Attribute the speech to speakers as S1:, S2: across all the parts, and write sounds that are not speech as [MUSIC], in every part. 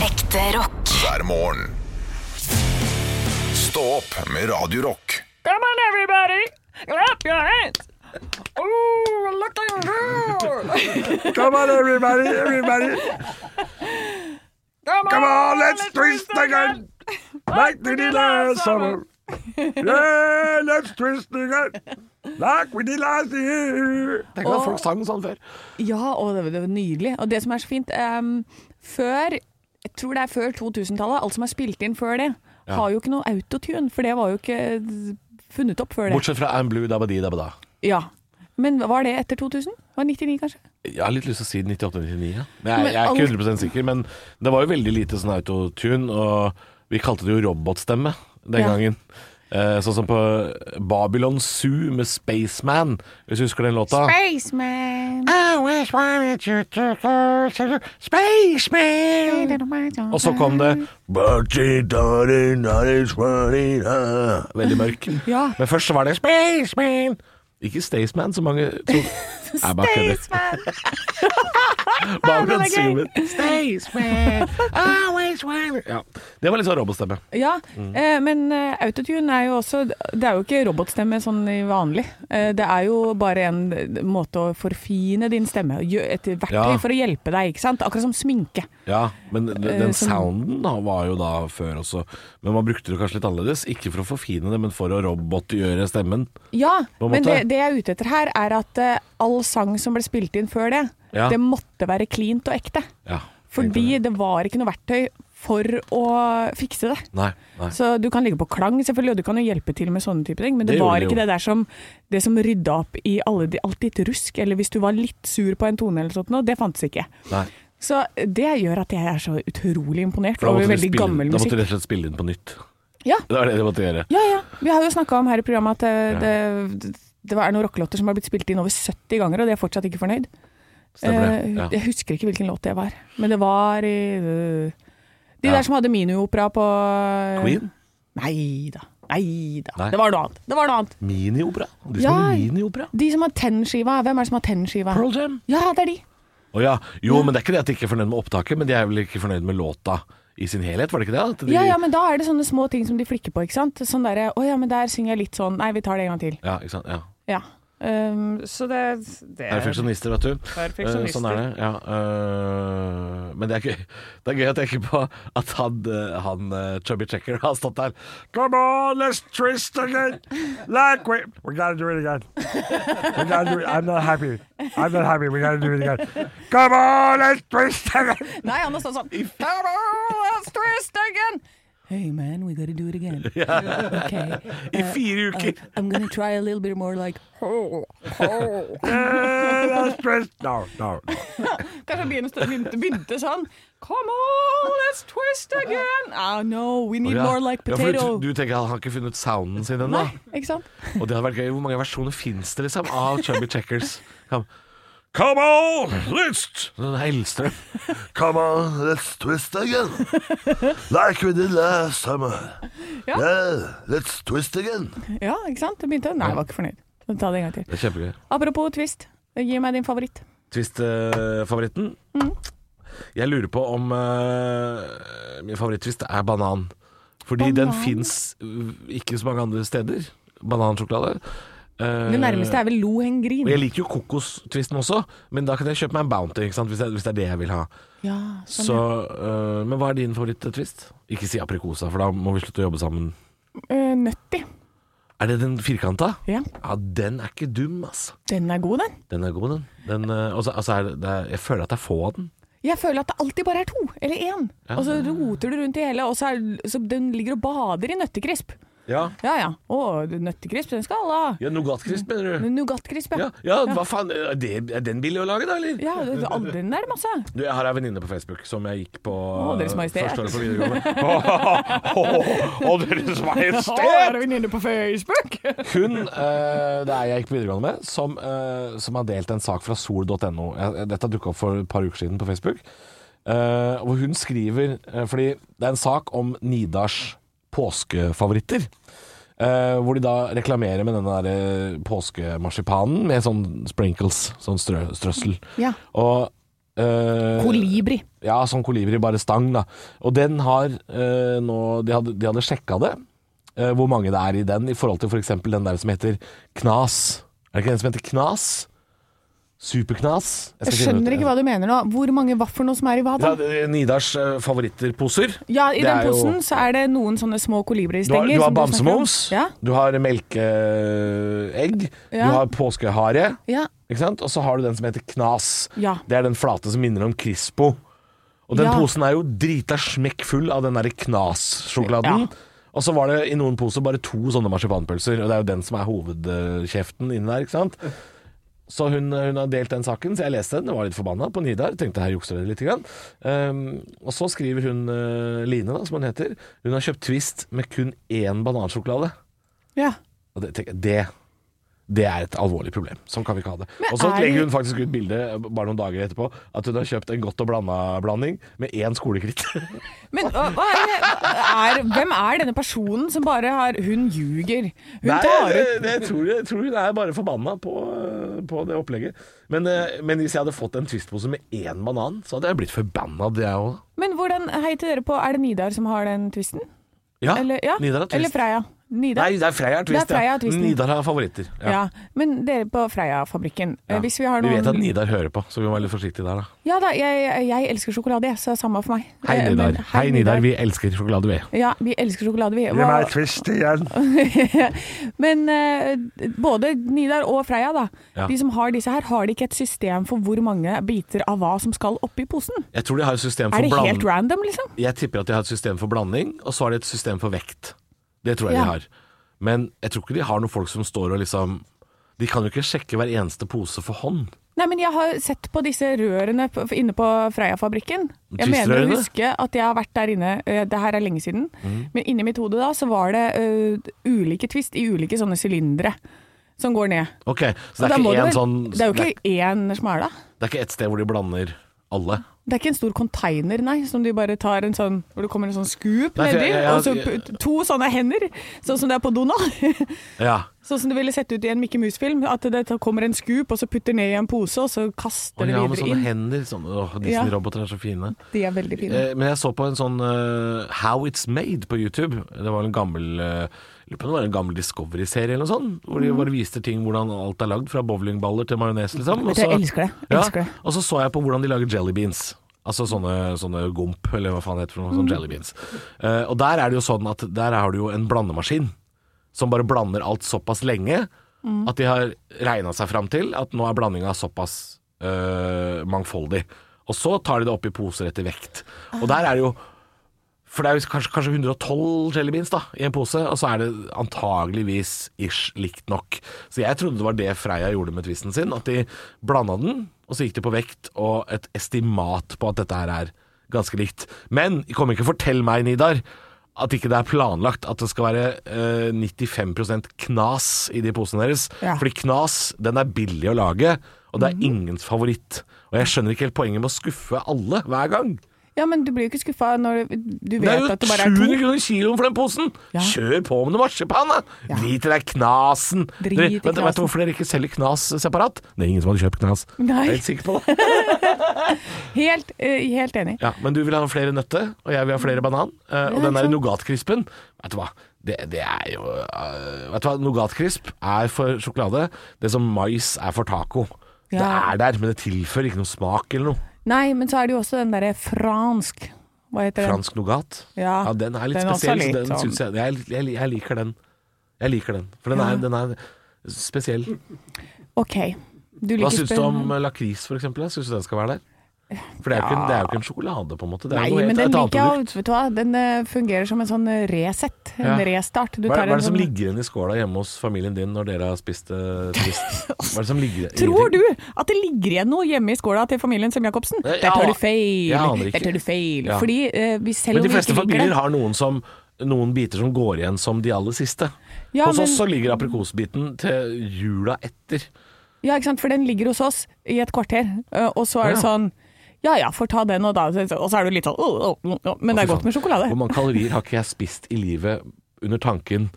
S1: Ekte rock.
S2: hver morgen. Stå opp med Radio Rock.
S3: Come on, everybody! Clap your hands! Ooh, looking good!
S4: Come on, everybody, everybody.
S3: Come on,
S4: Come on, let's twist again. Like we did last summer. Yeah, let's twist again. Like we did last year. Tenk
S5: at folk sang sånn før.
S3: Ja, og det, var- det var nydelig. Og det som er så fint ehm, Før Jeg tror det er før 2000-tallet, alt som er spilt inn før det, har jo ikke noe autotune, for det var jo ikke eh, funnet opp før det.
S5: Bortsett fra I'm blue dabadi dabada.
S3: Ja. Men var det etter 2000? Var det 99, kanskje?
S5: Jeg har litt lyst til å si 98-99. Ja. Men Jeg,
S3: Men
S5: jeg er ikke
S3: alt-
S5: 100 sikker, men det var jo veldig lite sånn autotune, og vi kalte det jo robotstemme den
S3: Ja.
S5: gangen. Eh, sånn som på Babylon Zoo med Spaceman, hvis du husker den låta.
S3: Spaceman.
S5: Spaceman! Og så kom det But she thought it not is funny, ah. Veldig mørk.
S3: Ja.
S5: Men først så var det Spaceman. Ikke Staysman, som mange
S3: [LAUGHS]
S5: tror. Jeg bare kødder. Bare
S3: den er
S5: consumer. Staysman, always wanted- Ja. Det var litt sånn robotstemme.
S3: Ja,
S5: Mm.
S3: eh, men eh, autotune er jo også Det er jo ikke robotstemme sånn i vanlig. Eh, det er jo bare en eh, måte å forfine din stemme gjø- Et verktøy
S5: Ja.
S3: for å hjelpe deg, ikke sant? Akkurat som sminke.
S5: Ja, men den
S3: Eh,
S5: den
S3: som-
S5: sounden da var jo da før også. Men man brukte det kanskje litt annerledes. Ikke for å forfine det, men for å robotgjøre stemmen.
S3: Ja,
S5: På en
S3: men
S5: måte.
S3: det, det jeg er ute etter her, er at eh, all sang som ble spilt inn før det,
S5: Ja.
S3: det måtte være cleant og ekte.
S5: Ja,
S3: Fordi det var ikke noe verktøy for å fikse det.
S5: Nei, nei.
S3: Så du kan ligge på klang selvfølgelig, og du kan jo hjelpe til med sånne type ting, men det,
S5: Det gjorde
S3: var
S5: det jo.
S3: ikke det der som, det som rydda opp i alle, de- alt ditt rusk, eller hvis du var litt sur på en tone eller sånt noe, det fantes ikke.
S5: nei.
S3: Så det gjør at jeg er så utrolig imponert
S5: For da
S3: over
S5: måtte du
S3: veldig
S5: spille-
S3: gammel
S5: Da måtte du
S3: musikk.
S5: rett og slett spille inn på nytt.
S3: Ja.
S5: Det var det de måtte gjøre.
S3: Ja, ja. Vi har jo snakka om her i programmet at eh, det, det var noen rockelåter som har blitt spilt inn over 70 ganger, og de er fortsatt ikke fornøyd.
S5: Stemmer
S3: Eh,
S5: det. Ja.
S3: Jeg husker ikke hvilken låt det var, men det var i eh, De
S5: Ja.
S3: der som hadde miniopera på Eh. øh,
S5: Queen?
S3: Nei da. Nei da.
S5: Nei.
S3: Det var noe annet. Det var noe annet.
S5: Miniopera? De
S3: Ja.
S5: som ja. miniopera?
S3: De som har Ten-skiva, hvem er det som har Ten-skiva?
S5: Pearl Jam?
S3: Ja, det er de.
S5: Å ja. Jo, men det er ikke det at de ikke er fornøyd med opptaket, men de er vel ikke fornøyd med låta i sin helhet, var det ikke det? At de,
S3: Ja, ja, men da er det sånne små ting som de flikker på, ikke sant. Sånn derre Å ja, men der synger jeg litt sånn. Nei, vi tar det en gang til.
S5: Ja, ikke sant. Ja.
S3: Ja. Um, så det, det
S5: Perfeksjonister, vet du. sånn, Eh, Sånn er det. Ja. eh, men det er, gøy. det er gøy å tenke på at han, eh, han eh, Chubby Checker har stått der.
S4: Come on, let's twist again. Like we we gotta do it again. We gotta do it. I'm not happy. I'm not happy. We gotta do it again. Come on, let's twist again.
S3: Nei, han har stått sånn Come on, let's twist again! Hey man, we gotta do
S5: [LAUGHS]
S3: it again. Okay. Uh,
S5: I fire uker!
S3: I'm gonna try a little bit more like
S4: Yeah, let's twist. No, no. no.
S3: Kanskje han begynte, begynte, begynte sånn Come on, let's twist again! Ah, no, we need
S5: Ja.
S3: more like
S5: Ja, for
S3: potato.
S5: du, du tenker han har ikke funnet sounden sin ennå?
S3: Nei, ikke sant?
S5: Og det hadde vært gøy. Hvor mange versjoner fins det liksom av Chubby Checkers? Come, Come on, let's Den eldste.
S2: Come on, let's twist again. Like we did last summer.
S3: Ja.
S2: Yeah, let's twist again.
S3: Ja, ikke sant? Det begynte Nei, jeg var ikke fornøyd. Ta det en gang til.
S5: Det er kjempegøy.
S3: Apropos twist, gi meg din favoritt.
S5: Twist-favoritten. Jeg lurer på om eh, min favoritt-twist er banan. Fordi den
S3: Banan?
S5: fins ikke så mange andre steder. Banansjokolade. Eh,
S3: Det nærmeste er vel
S5: og
S3: Lohengrin.
S5: Jeg liker jo kokos-twisten også, men da kan jeg kjøpe meg en Bounty ikke sant? Hvis, det, hvis det er det jeg vil ha.
S3: Ja,
S5: Så, eh, men hva er din favoritt-twist? Ikke si aprikosa, for da må vi slutte å jobbe sammen.
S3: Eh, Nøtti.
S5: Er det den firkanta?
S3: Ja,
S5: Ja, den er ikke dum, altså.
S3: den er god, den.
S5: Den er god, den. den eh, også, altså er det, det er, jeg føler at jeg får den.
S3: Jeg føler at det alltid bare er to, eller én. Og så roter du rundt i hele, og så, er, så den ligger og bader i nøttekrisp.
S5: Ja,
S3: Ja ja. Å, nøttekrisp, den skal alle ha.
S5: ja Nougatkrisp, mener du?
S3: Nougatkrisp,
S5: Ja,
S3: ja.
S5: ja, hva faen, er, det, er den billig å lage da, eller?
S3: Ja, det- det- all- den er det masse.
S5: Du, jeg har ei venninne på Facebook som jeg gikk på eh,
S3: Å, Deres Majestet.
S5: første året på videregående. Å, Deres
S3: Å,
S5: Majestet!
S3: er vi nede på Facebook!
S5: Hun eh, det er jeg gikk på videregående med, som, eh, som har delt en sak fra sol.no. Jeg- eh, Dette dukka opp for et par uker siden på Facebook. Eh, hvor hun skriver eh, Fordi det er en sak om Nidars påskefavoritter. Eh, hvor de da reklamerer med den der eh, påskemarsipanen med sånn sprinkles, sånn strø, strøssel.
S3: Ja.
S5: Og eh,
S3: Kolibri.
S5: Ja, som kolibri, bare stang, da. Og den har eh, nå De hadde, de hadde sjekka det, eh, hvor mange det er i den, i forhold til f.eks. den der som heter Knas. Er det ikke den som heter Knas? Superknas?
S3: Jeg skjønner ikke hva du mener nå. Hvor mange vafler nå som er i hva da?
S5: ja, det er Nidars eh, favoritterposer.
S3: Ja, i
S5: det
S3: den
S5: er jo-
S3: posen så er det noen sånne små
S5: Du har,
S3: kolibristenger.
S5: du har
S3: som snakker om.
S5: bamsemums,
S3: Ja,
S5: du har melkeegg,
S3: Ja.
S5: du har påskehare,
S3: ja,
S5: ikke sant? og så har du den som heter Knas.
S3: ja.
S5: Det er den flate som minner om Crispo. Og den
S3: Ja.
S5: posen er jo drita smekkfull av den derre Knas-sjokoladen. Og så var det i noen poser bare to sånne marsipanpølser, og det er jo den som er hovedkjeften inni der, ikke sant. Så hun, hun har delt den saken, så jeg leste den, var litt forbanna på Nidar. Tenkte her jukser dere litt. Grann. Um, og så skriver hun eh, Line, da, som hun heter, hun har kjøpt Twist med kun én banansjokolade.
S3: ja.
S5: Og det, tenker jeg, det det er et alvorlig problem. Sånn kan vi ikke ha det.
S3: Men
S5: Og så
S3: er
S5: legger
S3: det-
S5: hun faktisk ut bilde bare noen dager etterpå at hun har kjøpt en godt og blanda-blanding med én skolekritt.
S3: Men hva hva er, det- er, hvem er denne personen som bare har Hun ljuger. Hun
S5: [LAUGHS] Nei,
S3: tar
S5: det,
S3: ut
S5: det, jeg, tror, jeg tror hun er bare forbanna på, på det opplegget. Men, eh, men hvis jeg hadde fått en Twist-pose med én banan, så hadde jeg blitt forbanna, det jeg òg.
S3: Men hvordan Hei til dere på Er det Nidar som har den twisten?
S5: Ja,
S3: Eller, ja?
S5: Ah, Nidar har
S3: Eller
S5: Twist.
S3: Freya? Nidar?
S5: Nei, det er Freia har Twist.
S3: Det er Freia
S5: ja.
S3: har Twisten.
S5: Nidar har favoritter.
S3: ja. Men dere på Freia-fabrikken,
S5: Ja.
S3: eh, hvis vi har
S5: Vi
S3: noen
S5: vet at Nidar hører på, så vi må være litt forsiktige der, da.
S3: Ja da, jeg, jeg elsker sjokolade, jeg, så samme for meg.
S5: Hei,
S3: Eh, men-
S5: Nidar. Hei, Nidar. Vi elsker sjokolade, vi.
S3: Ja, vi elsker sjokolade, vi.
S4: Gi meg
S3: Hva-
S4: et twist igjen.
S3: [LAUGHS] Men eh, både Nidar og Freya, da.
S5: Ja.
S3: De som har disse her, har de ikke et system for hvor mange biter av hva som skal oppi posen?
S5: Jeg tror de har et system
S3: Er
S5: for
S3: det
S5: blanding.
S3: helt random, liksom?
S5: Jeg tipper at de har et system for blanding, og så har de et system for vekt. Det tror jeg
S3: Ja.
S5: de har. Men jeg tror ikke de har noen folk som står og liksom De kan jo ikke sjekke hver eneste pose for hånd.
S3: Nei, men jeg har sett på disse rørene på, inne på Freia-fabrikken. Jeg mener å
S5: Twist-rørene?
S3: huske at jeg har vært der inne, eh, det her er lenge siden,
S5: Mhm.
S3: men inni mitt hode da så var det eh, ulike twist i ulike sånne sylindere som går ned.
S5: Ok, Så det
S3: Og da
S5: er
S3: må
S5: ikke
S3: du
S5: én
S3: vel-
S5: sånn
S3: Det er jo
S5: det, er,
S3: ikke én smæla.
S5: det er ikke ett sted hvor de blander alle.
S3: Det er ikke en stor container, nei, som de bare tar en sånn Hvor det kommer en sånn scoop
S5: Nei, for
S3: nedi,
S5: jeg- jeg-
S3: og så
S5: jeg-
S3: put- to sånne hender, sånn som det er på Donald. [LAUGHS]
S5: Ja.
S3: sånn som det ville sett ut i en Mickey Mouse-film. At det tar- kommer en scoop, og så putter ned i en pose, og så kaster
S5: Og
S3: det
S5: ja, sånn- med
S3: videre
S5: sånne
S3: inn.
S5: hender. Sånne, åh,
S3: Ja.
S5: Disney-roboter er så fine.
S3: De er veldig fine.
S5: Eh, men jeg så på en sånn eh, How It's Made på YouTube. Det var en gammel eh, Lurer på om det var en gammel Discovery-serie eller noe sånt. Hvor
S3: Mm.
S5: de bare viste ting hvordan alt er lagd, fra bowlingballer til majones, liksom. Og
S3: Jeg
S5: så-
S3: elsker det.
S5: Ja,
S3: Elsker det.
S5: og så så jeg på hvordan de lager jelly beans. Altså sånne, sånne gomp, eller hva faen det heter for noe.
S3: Mm.
S5: Sånn jelly beans. Eh, og der er det jo sånn at der har du jo en blandemaskin som bare blander alt såpass lenge
S3: Mm.
S5: at de har regna seg fram til at nå er blandinga såpass eh, mangfoldig. Og så tar de det opp i poser etter vekt. Og der er det jo For det er jo kanskje, kanskje 112 jelly beans da, i en pose, og så er det antageligvis ish likt nok. Så jeg trodde det var det Freia gjorde med twisten sin, at de blanda den, og så gikk de på vekt og et estimat på at dette her er ganske likt. Men kom ikke og fortell meg, Nidar, at ikke det er planlagt at det skal være eh, 95 knas i de posene deres.
S3: Ja.
S5: Fordi knas, den er billig å lage, og det er ingens favoritt. Og jeg skjønner ikke helt poenget med å skuffe alle hver gang.
S3: Ja, men du blir jo ikke skuffa når du
S5: Det er
S3: vet
S5: jo
S3: at det bare er to.
S5: 700 kroner kiloen for den posen!
S3: Ja.
S5: Kjør på med noe marsipan, da!
S3: Ja.
S5: Drit i den knasen!
S3: Drit i
S5: Dere- vet,
S3: knasen.
S5: vet du hvorfor dere ikke selger knas separat? Det er ingen som hadde kjøpt knas.
S3: [LAUGHS] Nei.
S5: Jeg er helt sikker på det.
S3: Helt, eh, helt enig.
S5: Ja, men du vil ha flere nøtte, og jeg vil ha flere banan. eh, og
S3: Ja,
S5: den
S3: ikke
S5: der
S3: sant.
S5: nougatkrispen, vet du hva? Det, det er jo eh, Vet du hva, nougatkrisp er for sjokolade. Det som mais er for taco. Det
S3: Ja.
S5: er der, men det tilfører ikke noe smak eller noe.
S3: Nei, men så er det jo også den derre fransk Hva heter den?
S5: Fransk nougat.
S3: Ja,
S5: Ja, den er litt
S3: Ah, den er også
S5: spesiell. så
S3: litt
S5: den
S3: sånn-
S5: synes jeg, jeg, jeg, jeg liker den. Jeg liker den, for den,
S3: Ja.
S5: er, den er spesiell.
S3: OK. Du
S5: Hva
S3: liker
S5: syns du
S3: spen-
S5: om lakris, for eksempel? Syns du den skal være der? For det er jo ikke, en- det er jo ikke en sjokolade, på en måte. Det er
S3: Nei,
S5: jo noe helt,
S3: men den
S5: et annet
S3: liker jeg
S5: produkt.
S3: jo- vet du hva, Den eh, fungerer som en sånn eh, reset, en
S5: Ja.
S3: restart. Du
S5: Hva er, hva
S3: tar
S5: er
S3: en
S5: det som
S3: sånn-
S5: ligger igjen i skåla hjemme hos familien din når dere har spist eh,
S3: [LAUGHS]
S5: twist? Hva er det som ligger
S3: Tror du at det ligger igjen noe hjemme i skåla til familien som Jacobsen?
S5: Eh,
S3: Der
S5: ja.
S3: tar du feil.
S5: Jeg aner ikke.
S3: Der tar du feil.
S5: Ja.
S3: Fordi eh, vi selv
S5: Men
S3: om
S5: de
S3: vi
S5: fleste
S3: ikke liker
S5: familier
S3: det
S5: har noen som noen biter som går igjen som de aller siste.
S3: Ja,
S5: hos oss
S3: men-
S5: så ligger aprikosbiten til jula etter.
S3: Ja, ikke sant? For den ligger hos oss i et kvarter, eh, og så er det
S5: Ja.
S3: sånn ja ja, får ta den og da. Og så er du litt sånn «Åh, åh, åh, åh», Men det
S5: Å,
S3: er
S5: fy
S3: godt med
S5: faen.
S3: sjokolade.
S5: Hvor mange kalorier har ikke jeg spist i livet under tanken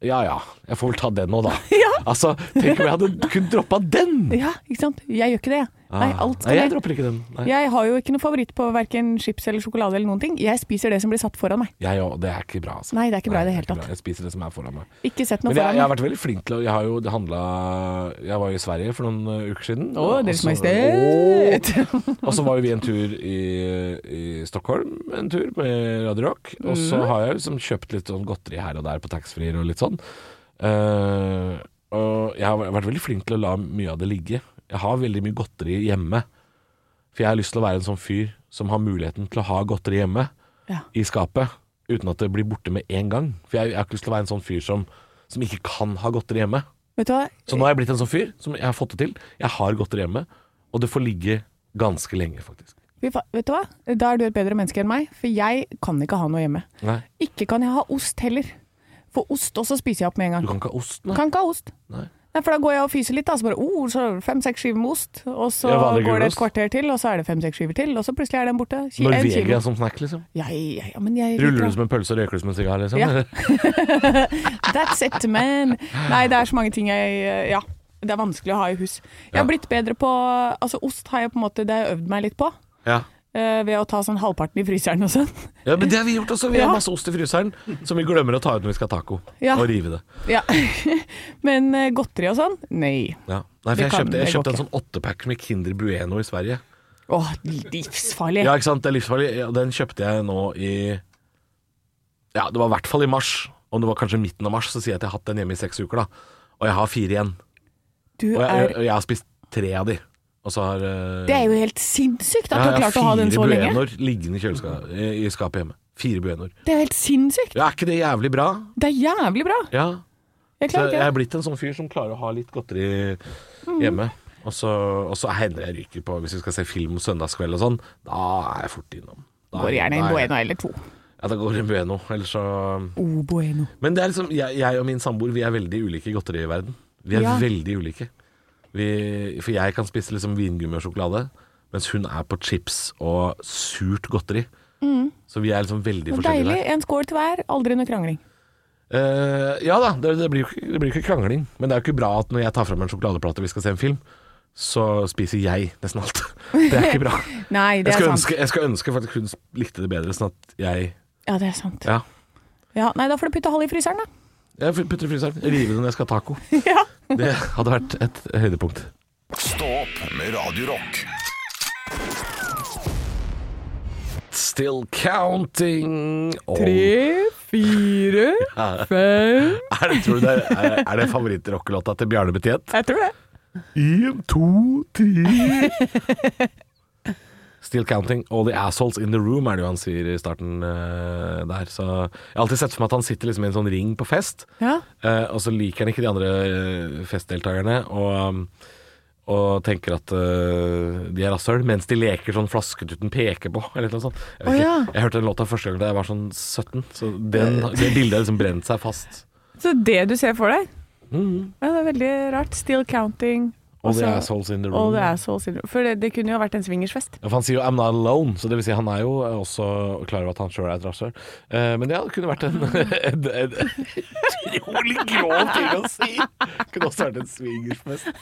S5: Ja ja, jeg får vel ta den nå, da.
S3: [LAUGHS] Ja,
S5: Altså, tenk om jeg hadde kun droppa den!
S3: Ja, ikke sant? Jeg gjør ikke det. jeg. [LAUGHS] Nei, alt skal
S5: Ah. Nei, jeg
S3: jeg.
S5: dropper ikke den. Nei.
S3: Jeg har jo ikke noe favoritt på verken chips eller sjokolade eller noen ting. Jeg spiser det som blir satt foran meg.
S5: Jeg òg. Det er ikke bra, altså.
S3: Nei, det er ikke bra i det hele
S5: ikke
S3: tatt.
S5: bra. Jeg spiser det som er foran meg.
S3: Ikke sett noe
S5: Men jeg,
S3: foran
S5: jeg har
S3: meg.
S5: vært veldig flink til å Jeg har jo handla Jeg var jo i Sverige for noen uh, uker siden.
S3: Å,
S5: og
S3: Deres
S5: så-
S3: Majestet!
S5: Og så var jo vi en tur i, i Stockholm, en tur med Radio Rock. Og så har jeg liksom kjøpt litt sånn godteri her og der på taxfree og litt sånn. Eh, og jeg har vært veldig flink til å la mye av det ligge. Jeg har veldig mye godteri hjemme. For jeg har lyst til å være en sånn fyr som har muligheten til å ha godteri hjemme
S3: Ja.
S5: i skapet uten at det blir borte med en gang. For jeg, jeg har ikke lyst til å være en sånn fyr som, som ikke kan ha godteri hjemme.
S3: [LAUGHS] Vet du hva?
S5: Så nå har jeg blitt en sånn fyr som jeg har fått det til. Jeg har godteri hjemme, og det får ligge ganske lenge, faktisk.
S3: Vi fa- Vet du hva? Da er du et bedre menneske enn meg, for jeg kan ikke ha noe hjemme.
S5: Nei,
S3: Ikke kan jeg ha ost heller. For ost også spiser jeg opp med en
S5: du
S3: gang.
S5: kan ikke ha ost, nei.
S3: Kan ikke ha ost.
S5: nei.
S3: Nei, for da går jeg og fyser litt, da. Så bare oh, så fem-seks skiver med ost. Og så
S5: Ja, vanlig
S3: går det
S5: gulost.
S3: et kvarter til, og så er det fem-seks skiver til. Og så plutselig er den borte. Ki- en kilo.
S5: Norvegia som snack, liksom.
S3: Ja, ja, ja, men jeg
S5: Ruller du som en pølse og røyker du som en sigar, liksom?
S3: Ja. That's it, man. Nei, det er så mange ting jeg Ja. Det er vanskelig å ha i hus. Jeg har
S5: Ja.
S3: blitt bedre på Altså, ost har jeg på en måte Det har jeg øvd meg litt på.
S5: [LAUGHS] ja.
S3: eh, ved å ta sånn halvparten i fryseren og
S5: [LAUGHS]
S3: sånn.
S5: Ja, men det har vi gjort også. Vi har
S3: Ja.
S5: masse ost i fryseren som vi glemmer å ta ut når vi skal ha taco.
S3: Ja.
S5: Og rive det.
S3: Ja. [LAUGHS] Men eh, godteri og sånn? Nei.
S5: Ja. Nei, for
S3: Det
S5: jeg
S3: kan-
S5: kjøpte, jeg
S3: det går
S5: kjøpte en sånn åttepack med Kinder Bueno i Sverige.
S3: Åh, livsfarlig.
S5: Ja, ikke sant? Det er livsfarlig. Ja, Den kjøpte jeg nå i Ja, det var i hvert fall i mars. Om det var kanskje midten av mars, så sier jeg at jeg har hatt den hjemme i seks uker, da. Og jeg har fire igjen.
S3: Du
S5: Og jeg,
S3: er
S5: og jeg har spist tre av de. Og så har eh,
S3: Det er jo helt sinnssykt at
S5: ja,
S3: du har
S5: jeg
S3: klart å ha den så
S5: fire
S3: lenge.
S5: buenoer liggende i, kjøleska- i, i skapet hjemme. Fire buenoer.
S3: Det er helt sinnssykt.
S5: Ja, er ikke det jævlig bra?
S3: Det er jævlig bra.
S5: Ja.
S3: Jeg
S5: Så
S3: klarer
S5: jeg
S3: ikke
S5: er blitt en sånn fyr som klarer å ha litt godteri
S3: Mm.
S5: hjemme. Og så, og så hender jeg ryker på hvis vi skal se film søndagskveld og sånn. Da er jeg fort innom. Da
S3: det.
S5: er-
S3: Går gjerne
S5: da
S3: en
S5: er-
S3: bueno eller to.
S5: Ja, da går det en bueno. Ellers så
S3: Oh, bueno.
S5: Men det er liksom, jeg, jeg og min samboer Vi er veldig ulike i godteriverden. Vi er
S3: Ja.
S5: veldig ulike. Vi, for jeg kan spise liksom vingummi og sjokolade, mens hun er på chips og surt godteri. Så vi er liksom veldig forskjellige
S3: Mm. Deilig.
S5: der.
S3: En skål til hver. Aldri noe krangling.
S5: Eh, ja da, det, det, blir jo ikke, det blir jo ikke krangling. Men det er jo ikke bra at når jeg tar fram en sjokoladeplate og vi skal se en film, så spiser jeg nesten alt. [LAUGHS] Det er ikke bra.
S3: Nei,
S5: Jeg
S3: [LAUGHS] det er
S5: skal,
S3: sant.
S5: ønske, jeg skal ønske faktisk hun likte det bedre, sånn at jeg
S3: Ja, det er sant.
S5: Ja.
S3: Ja, nei, da får du putte halv i
S5: [LAUGHS]
S3: fryseren, da.
S5: Jeg putter i fryseren. Rive det når jeg skal ha taco.
S3: Ja.
S5: Det hadde vært et høydepunkt.
S1: Stå opp med Radio Rock.
S5: Still counting oh.
S3: fire, fem
S5: Er det, tror du det er, er- er det favorittrockelåta til Bjarne Betjent?
S3: Jeg tror det.
S5: En, to, tre Still counting. All the assholes in the room, er det jo han sier i starten eh, der. Så jeg har alltid sett for meg at han sitter liksom i en sånn ring på fest,
S3: Ja.
S5: eh, og så liker han ikke de andre eh, festdeltakerne. Og um, og tenker at øh, de er rasshøl, mens de leker sånn flasketuten peker på, [LAUGHS] eller noe sånt. Jeg, vet
S3: Å,
S5: ikke.
S3: ja.
S5: jeg hørte den låta første gang da jeg var sånn 17, så den, det bildet har liksom brent seg fast.
S3: Så det du ser for deg? Ja, det er veldig rart. Still counting.
S5: All the
S3: Også-
S5: assholes in the
S3: Altså, All
S5: room.
S3: the assholes in For det, det kunne jo vært en swingersfest. [LAUGHS]
S5: Ja, for han sier jo 'I'm not alone', så det vil si han er jo eh, også klar over at han sjøl er et rasshøl. Eh, men ja, det kunne vært
S3: [LAUGHS]
S5: en en- en utrolig grov ting å si. Kunne også vært en swingersfest.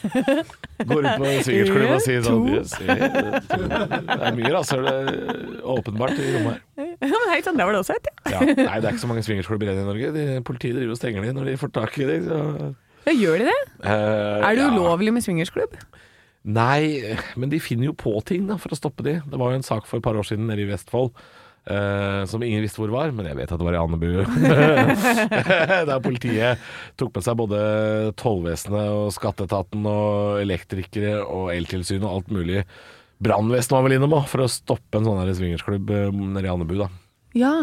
S5: Går ut på swingersklubben og sier sånn
S3: To.
S5: «Yes, yes, Det er mye rasshøl eh, åpenbart i rommet her.
S3: Ja, men hei sann, der var det også et, ja.
S5: Ja, nei, det er ikke så mange swingersklubber igjen i Norge. De, politiet driver og stenger de når de får tak i de. Så,
S3: ja. Gjør de det?
S5: Eh,
S3: Er det
S5: ja.
S3: ulovlig med swingersklubb?
S5: Nei, men de finner jo på ting da, for å stoppe de. Det var jo en sak for et par år siden nede i Vestfold. eh, som ingen visste hvor var, men jeg vet at det var i Andebu. [LAUGHS] Der politiet tok med seg både tollvesenet og skatteetaten og elektrikere og eltilsyn og alt mulig. Brannvesenet var vel innom òg, for å stoppe en sånn her swingersklubb eh, nede i Andebu. da.
S3: Ja.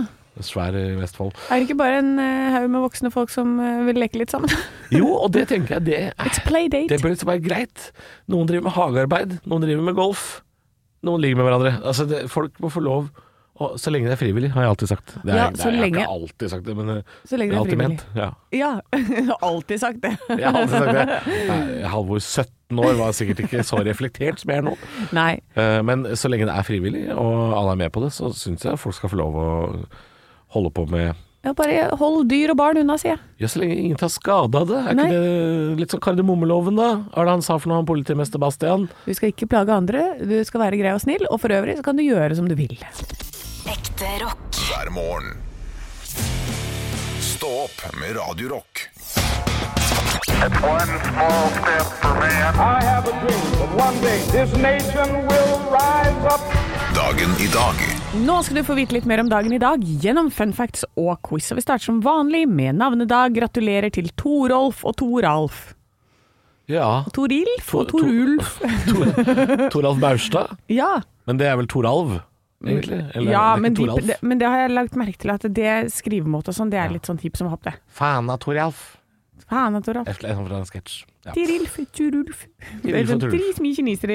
S5: Svær i Vestfold.
S3: Er det ikke bare en eh, haug med voksne folk som eh, vil leke litt sammen?
S5: Jo, og det tenker jeg, det er
S3: It's playdate.
S5: Det bør liksom være greit. Noen driver med hagearbeid, noen driver med golf. Noen ligger med hverandre. Altså, det, folk må få lov. Og så lenge det er frivillig, har jeg alltid sagt. Det er,
S3: Ja,
S5: det
S3: så
S5: er, jeg har
S3: lenge-
S5: ikke alltid sagt det, men eh,
S3: Så
S5: jeg
S3: lenge det
S5: har
S3: er
S5: alltid
S3: frivillig.
S5: ment. Ja,
S3: Ja. [LAUGHS] Alltid sagt det.
S5: jeg har alltid sagt det. Nei, Halvor 17 år var sikkert ikke så reflektert som jeg er nå.
S3: Nei.
S5: Eh, Men så lenge det er frivillig, og alle er med på det, så syns jeg folk skal få lov å holde på med
S3: Ja, bare hold dyr og barn unna, sier jeg.
S5: Ja, så lenge ingen tar skade av det. Er
S3: Nei.
S5: ikke det litt sånn kardemommeloven, da? Hva er det han sa for noe, han politimester Bastian?
S3: Du skal ikke plage andre, du skal være grei og snill, og for øvrig så kan du gjøre som du vil.
S6: Ekte rock.
S1: hver morgen. Stå opp med Radio Rock.
S7: One small step for man.
S8: I have a dream that one day this nation will rise up.
S1: Dagen i dag
S3: Nå skal du få vite litt mer om dagen i dag gjennom fun facts og quiz. Og vi starter som vanlig med navnedag. Gratulerer til Torolf og Toralf.
S5: Ja.
S3: Torilf og
S5: Tor-
S3: Torulf.
S5: Toralf Baustad?
S3: Ja,
S5: Men det er vel Toralv, egentlig? Eller,
S3: Mm. ja
S5: det er ikke
S3: men, de,
S5: Toralf.
S3: det- men det har jeg lagt merke til at det skrivemåte og sånn, det er litt sånn hipp som happ, det.
S5: Faen av Toralf.
S3: Faen, at Toralf.
S5: Efter en fra en sketsj. Ja.
S3: Tirilf,
S5: [LAUGHS]
S3: Turulf. Det er
S5: Tirilf og
S3: sånn
S5: Turulf.
S3: dritmye kinesere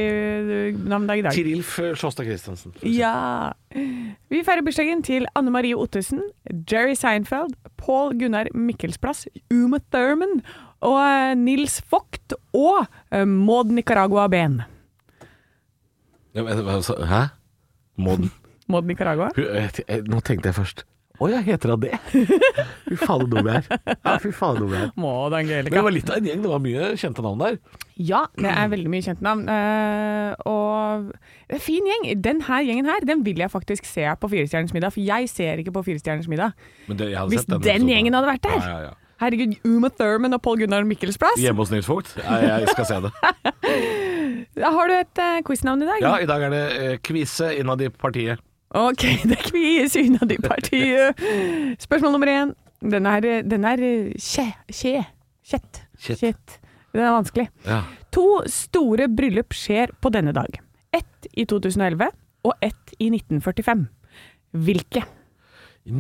S3: eh, navnedag i dag.
S5: Tirilf Sjåstad Christensen.
S3: Ja. Vi feirer bursdagen til Anne Marie Ottesen, Jerry Seinfeld, Paul Gunnar Mikkelsplass, Uma Thurman og eh, Nils Vogt og eh, Maud Nicaragua Ben.
S5: Ja, men, hva sa- Hæ? Modden?
S3: Maud Nicaragua?
S5: Hun- jeg- jeg- Nå tenkte jeg først Å ja, heter hun det? Fy faen, så dum jeg er. Ja, fy faen, så dum jeg er.
S3: Maud
S5: Men det
S3: Angelica.
S5: var litt av en gjeng. Det var mye kjente navn der.
S3: Ja, det er veldig mye kjente navn. eh, og det er en fin gjeng. Den her gjengen her, den vil jeg faktisk se på Firestjerners middag, for jeg ser ikke på Firestjerners middag.
S5: Men det, jeg hadde
S3: Hvis
S5: sett den,
S3: den
S5: episoden.
S3: gjengen hadde vært der.
S5: Ja, ja, ja.
S3: Herregud, Uma Thurman og Paul Gunnar Mikkelsplass.
S5: Hjemme hos Nils Vogt? Nei, jeg skal se det.
S3: Har du et uh, quiznavn i dag?
S5: Ja, i dag er det eh, kvise innad i partiet.
S3: Ok, [LAUGHS] det er kvies innad i partiet. Spørsmål nummer én. Den er, den er eh, kje, kje, kjett.
S5: Kjett.
S3: Den er vanskelig.
S5: Ja.
S3: To store bryllup skjer på denne dag. Ett i 2011 og ett i 1945. Hvilke?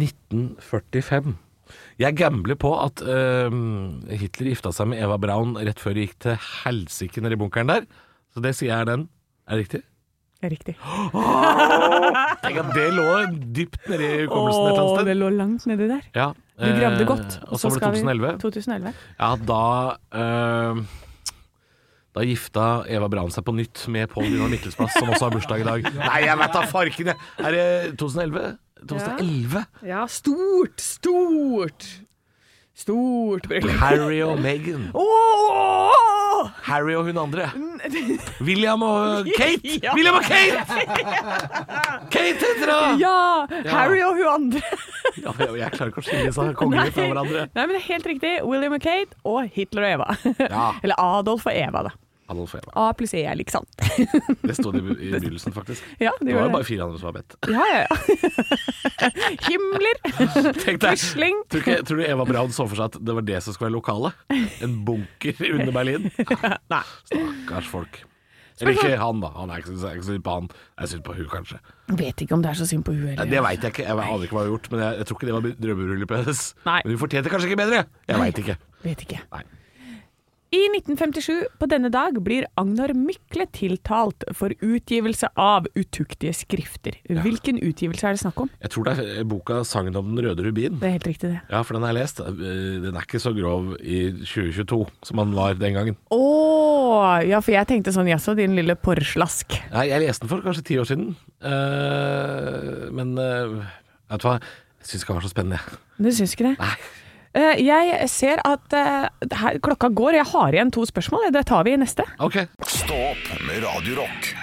S5: 1945. Jeg gambler på at eh, Hitler gifta seg med Eva Braun rett før det gikk til helsike nedi bunkeren der. Så det sier jeg er den. Er det riktig?
S3: Det er Riktig.
S5: Tenk at det lå dypt nedi hukommelsen et
S3: Åh,
S5: eller
S3: det
S5: annet sted.
S3: lå langt nedi der.
S5: Ja,
S3: Du gravde
S5: eh,
S3: godt.
S5: Og så var
S3: skal
S5: det
S3: vi-
S5: 2011.
S3: 2011.
S5: Ja, da eh, Da gifta Eva Braun seg på nytt med Pål Gunnar Mikkelsplass, som også har bursdag i dag. [LAUGHS] Nei, jeg vet da farken, jeg! Er det 2011? 2011?
S3: Ja, stort, stort. Stort bryllup.
S5: Harry og Meghan.
S3: Åh!
S5: Harry og hun andre.
S3: [LAUGHS]
S5: William og Kate! William og Kate! Kate heter hun!
S3: Ja, Harry og hun andre.
S5: Ja, jeg, jeg klarer ikke å skille disse kongene fra hverandre.
S3: Nei, men det er helt riktig. William og Kate og Hitler og Eva.
S5: Ja.
S3: [LAUGHS] Eller Adolf og Eva, da.
S5: Adolf og Eva.
S3: A pluss E er lik sant. [LAUGHS]
S5: Det sto det i i begynnelsen, faktisk.
S3: Ja,
S5: Det
S3: det
S5: var
S3: gjør
S5: jo
S3: det.
S5: bare fire andre som var bedt. [LAUGHS]
S3: Ja, ja, [LAUGHS] ja. Himmler.
S5: Tenk deg.
S3: Quisling.
S5: Tror, ikke, tror du Eva Braun så for seg at det var det som skulle være lokalet? En bunker under
S3: [LAUGHS]
S5: Berlin? Nei. Stakkars folk. Eller ikke han, da. Han er ikke, så- jeg er ikke så synd på han. Jeg er synd på hun, kanskje.
S3: Vet ikke om det er så synd på hun
S5: Nei,
S3: heller.
S5: Det veit jeg ikke. Jeg aner ikke hva hun har gjort, men jeg, jeg tror ikke det var drømmebryllupet hennes.
S3: Nei.
S5: Men hun fortjente kanskje ikke bedre. Jeg veit ikke.
S3: Vet ikke.
S5: Nei.
S3: I 1957 på denne dag blir Agnar Mykle tiltalt for utgivelse av utuktige skrifter. Hvilken utgivelse er det snakk om?
S5: Jeg tror det er eh, boka 'Sangen om den røde rubin'.
S3: Det er helt riktig, det.
S5: Ja, for den har jeg lest. Eh, Den er ikke så grov i 2022 som den var den gangen.
S3: Å, ja, for jeg tenkte sånn jaså, din lille porslask.
S5: Nei, jeg leste den for kanskje ti år siden, Eh, men eh, vet du hva? Jeg syns ikke det var så spennende. jeg.
S3: Du syns ikke det?
S5: Nei.
S3: Eh, jeg ser at eh, her, klokka går. Jeg har igjen to spørsmål. Det tar vi i neste.
S5: Ok.
S1: Stå opp med Radio Rock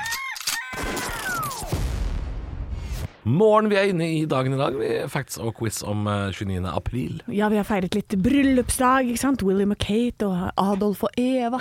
S5: Morgen, vi er inne i dagen i dag. Vi Facts og quiz om eh, 29. april. [LAUGHS]
S3: Ja, vi har feiret litt bryllupsdag, ikke sant? William og Kate og Adolf og [LAUGHS] Eva.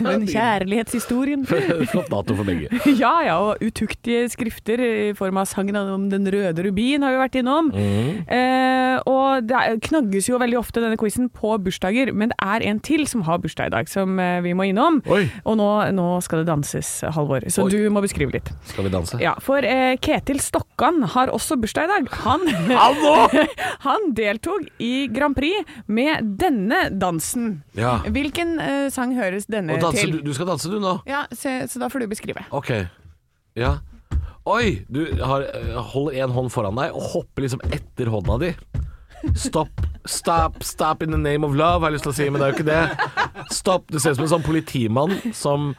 S3: Den kjærlighetshistorien.
S5: Flott dato for begge.
S3: [LAUGHS] Ja ja, og utuktige skrifter i form av sangen om Den røde rubin har vi vært innom.
S5: Mm.
S3: Eh, og det er, knagges jo veldig ofte denne quizen på bursdager, men det er en til som har bursdag i dag, som eh, vi må innom.
S5: Oi.
S3: Og nå, nå skal det danses, Halvor, så
S5: Oi.
S3: du må beskrive litt.
S5: Skal vi danse?
S3: Ja, for eh, Ketil Stokkan har også bursdag i dag.
S5: [LAUGHS]
S3: Han, [LAUGHS] han deltok i Grand Prix med denne dansen.
S5: Ja.
S3: Hvilken eh, sang høres denne
S5: Og danse,
S3: til?
S5: du, du skal danse, du, nå?
S3: Ja, så, så da får du beskrive.
S5: Ok. Ja. Oi! Du har, holder én hånd foran deg og hopper liksom etter hånda di. Stopp. Stop, stop in the name of love, har jeg lyst til å si, men det er jo ikke det. Stopp. Du ser ut som en sånn politimann som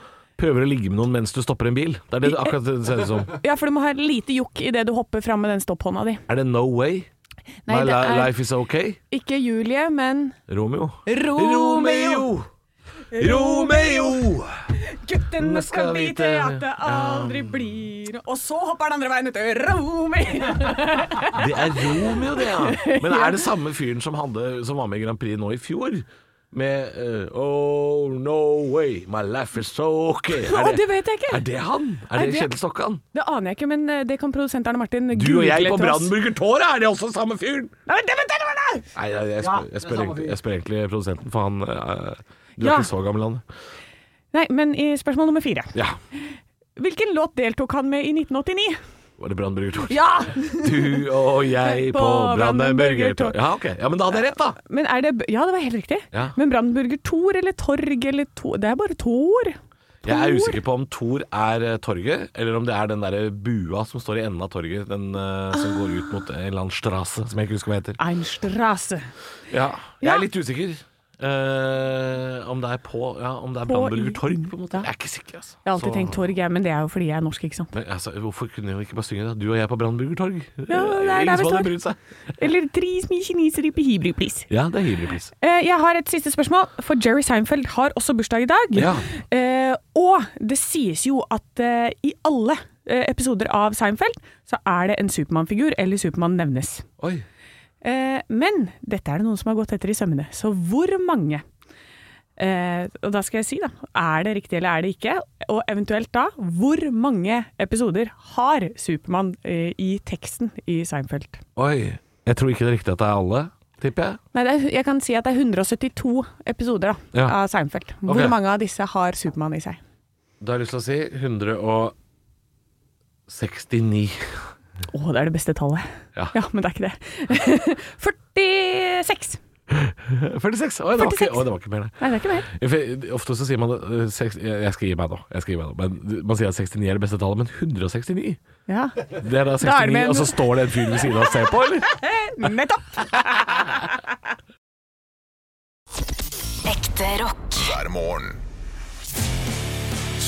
S5: prøver å ligge med noen mens du stopper en bil. Det er det du akkurat det ser ut som.
S3: Ja, for du må ha lite jokk idet du hopper fram med den stopphånda di.
S5: Er det no way?
S3: Nei,
S5: My
S3: det
S5: li-
S3: er
S5: life is okay.
S3: ikke Julie, men
S5: Romeo.
S3: Romeo.
S5: Romeo!
S3: Guttene
S5: skal
S3: skal vite
S5: vite
S3: at det aldri blir Og så hopper den andre veien ut [LAUGHS] Romeo!
S5: Det er Romeo, det,
S3: [LAUGHS]
S5: ja. Men er det samme fyren som, hadde, som var med i Grand Prix nå i fjor? Med eh, Oh, no way, my life is so okay. Er
S3: Å, det vet jeg ikke.
S5: Er det han?
S3: Er
S5: Er det
S3: det-
S5: Kjetil Stokkan?
S3: Det aner jeg ikke, men eh, det kan produsent Arne Martin
S5: Du og jeg
S3: google
S5: på
S3: til oss.
S5: Brandenburger Tårn, er det også samme fyren?
S3: Nei, men det vet jeg, det var det!
S5: Nei, jeg, jeg, spør, jeg, spør, egentlig- jeg spør egentlig produsenten, for han eh, Du er
S3: Ja.
S5: ikke så gammel, han.
S3: Nei, men i spørsmål nummer fire.
S5: Ja.
S3: Hvilken låt deltok han med i 1989?
S5: Var det Brandenburger
S3: [LAUGHS]
S5: Tårn?
S3: Ja!
S5: Du og jeg på,
S3: På
S5: Brandenburger
S3: Brandenburger
S5: Tor.
S3: Tor.
S5: Ja, ok. Ja, men da hadde jeg rett, da.
S3: Men er det Ja, det var helt riktig.
S5: Ja.
S3: Men Brandenburger Tor eller Torg eller Tor Det er bare Tor.
S5: Jeg er
S3: Tor?
S5: usikker på om Tor er eh, torget, eller om det er den derre bua som står i enden av torget, den eh, som går ut mot en eller annen strasse, som jeg ikke husker hva heter.
S3: Einstrasse.
S5: Ja. Jeg
S3: Ja.
S5: er litt usikker. eh, om det er på Ja, om det er
S3: På
S5: Brandenburger
S3: i-
S5: Torg, på en måte. Jeg er ikke sikker, altså.
S3: Jeg har alltid tenkt Torg, jeg, men det er jo fordi jeg er norsk, ikke sant.
S5: Men, altså, hvorfor kunne jeg ikke bare synge det? Du og jeg på Brandenburger Torg.
S3: det er der
S5: Ingen
S3: vi
S5: som hadde
S3: står.
S5: brydd seg.
S3: Eller Dris mye kinesere på Hebrew, please.
S5: Ja, det er hybridpris.
S3: Eh, Jeg har et siste spørsmål, for Jerry Seinfeld har også bursdag i dag.
S5: Ja.
S3: Eh, og det sies jo at eh, i alle eh, episoder av Seinfeld så er det en Supermann-figur, eller Supermann nevnes.
S5: Oi.
S3: Eh, men dette er det noen som har gått etter i sømmene, så hvor mange? Eh, og da skal jeg si, da. Er det riktig eller er det ikke? Og eventuelt da, hvor mange episoder har Supermann eh, i teksten i Seinfeld?
S5: Oi. Jeg tror ikke det er riktig at det er alle, tipper jeg.
S3: Nei, det er, jeg kan si at det er 172 episoder da,
S5: Ja.
S3: av Seinfeld. Hvor
S5: Ok.
S3: mange av disse har Supermann i seg?
S5: Da har jeg lyst til å si [LAUGHS] 169.
S3: Å, det er det beste tallet. [LAUGHS]
S5: Ja.
S3: men det er ikke det. [LAUGHS] 46!
S5: 46. Oi, det var ikke,
S3: 46.
S5: oi, det var ikke mer, det.
S3: Nei, det er ikke mer.
S5: Ja, for Ofte så sier man eh, seks- Jeg jeg skal gi meg nå. Jeg skal gi meg nå. Men man sier at 69 er det beste tallet, men 169?
S3: Ja.
S5: Det er da
S3: Da er
S5: 69,
S3: det med en-
S5: og så står det en fyr ved siden av og ser på, eller?
S3: Eh, Nettopp!
S6: Ekte rock.
S1: hver morgen.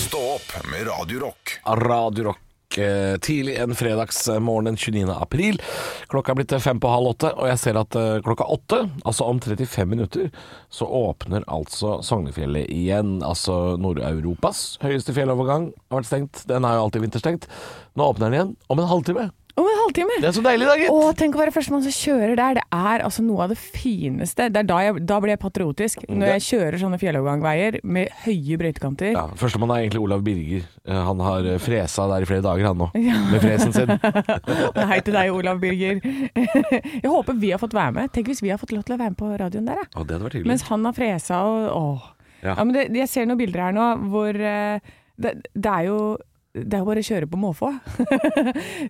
S1: Stå opp med Radio Rock.
S5: [LAUGHS] Radio Rock eh, tidlig en fredagsmorgen den 29. april. Klokka er blitt eh, fem på halv åtte, og jeg ser at eh, klokka åtte, altså om 35 minutter, så åpner altså Sognefjellet igjen. Altså Nord-Europas høyeste fjellovergang har vært stengt. Den er jo alltid vinterstengt. Nå åpner den igjen om en halvtime.
S3: Om en halvtime.
S5: Det er så deilig, da, gitt.
S3: Å, tenk å være førstemann som kjører der. Det er altså noe av det fineste. Det er da, jeg, da blir jeg patriotisk.
S5: Mm.
S3: Når jeg kjører sånne fjellovergangveier med høye brøytekanter.
S5: Ja, Førstemann er egentlig Olav Birger. Eh, Han har eh, fresa der i flere dager, han nå. Med fresen
S3: [LAUGHS]
S5: sin.
S3: Hei til deg, Olav Birger. [LAUGHS] Jeg håper vi har fått være med. Tenk hvis vi har fått lov til å være med på radioen der, jeg.
S5: Å, det hadde vært hyggelig.
S3: Mens han har fresa og åh.
S5: Mm. Ja.
S3: Ja. men det, jeg ser noen bilder her nå hvor eh, det, det er jo det er jo bare å kjøre på måfå. [LAUGHS]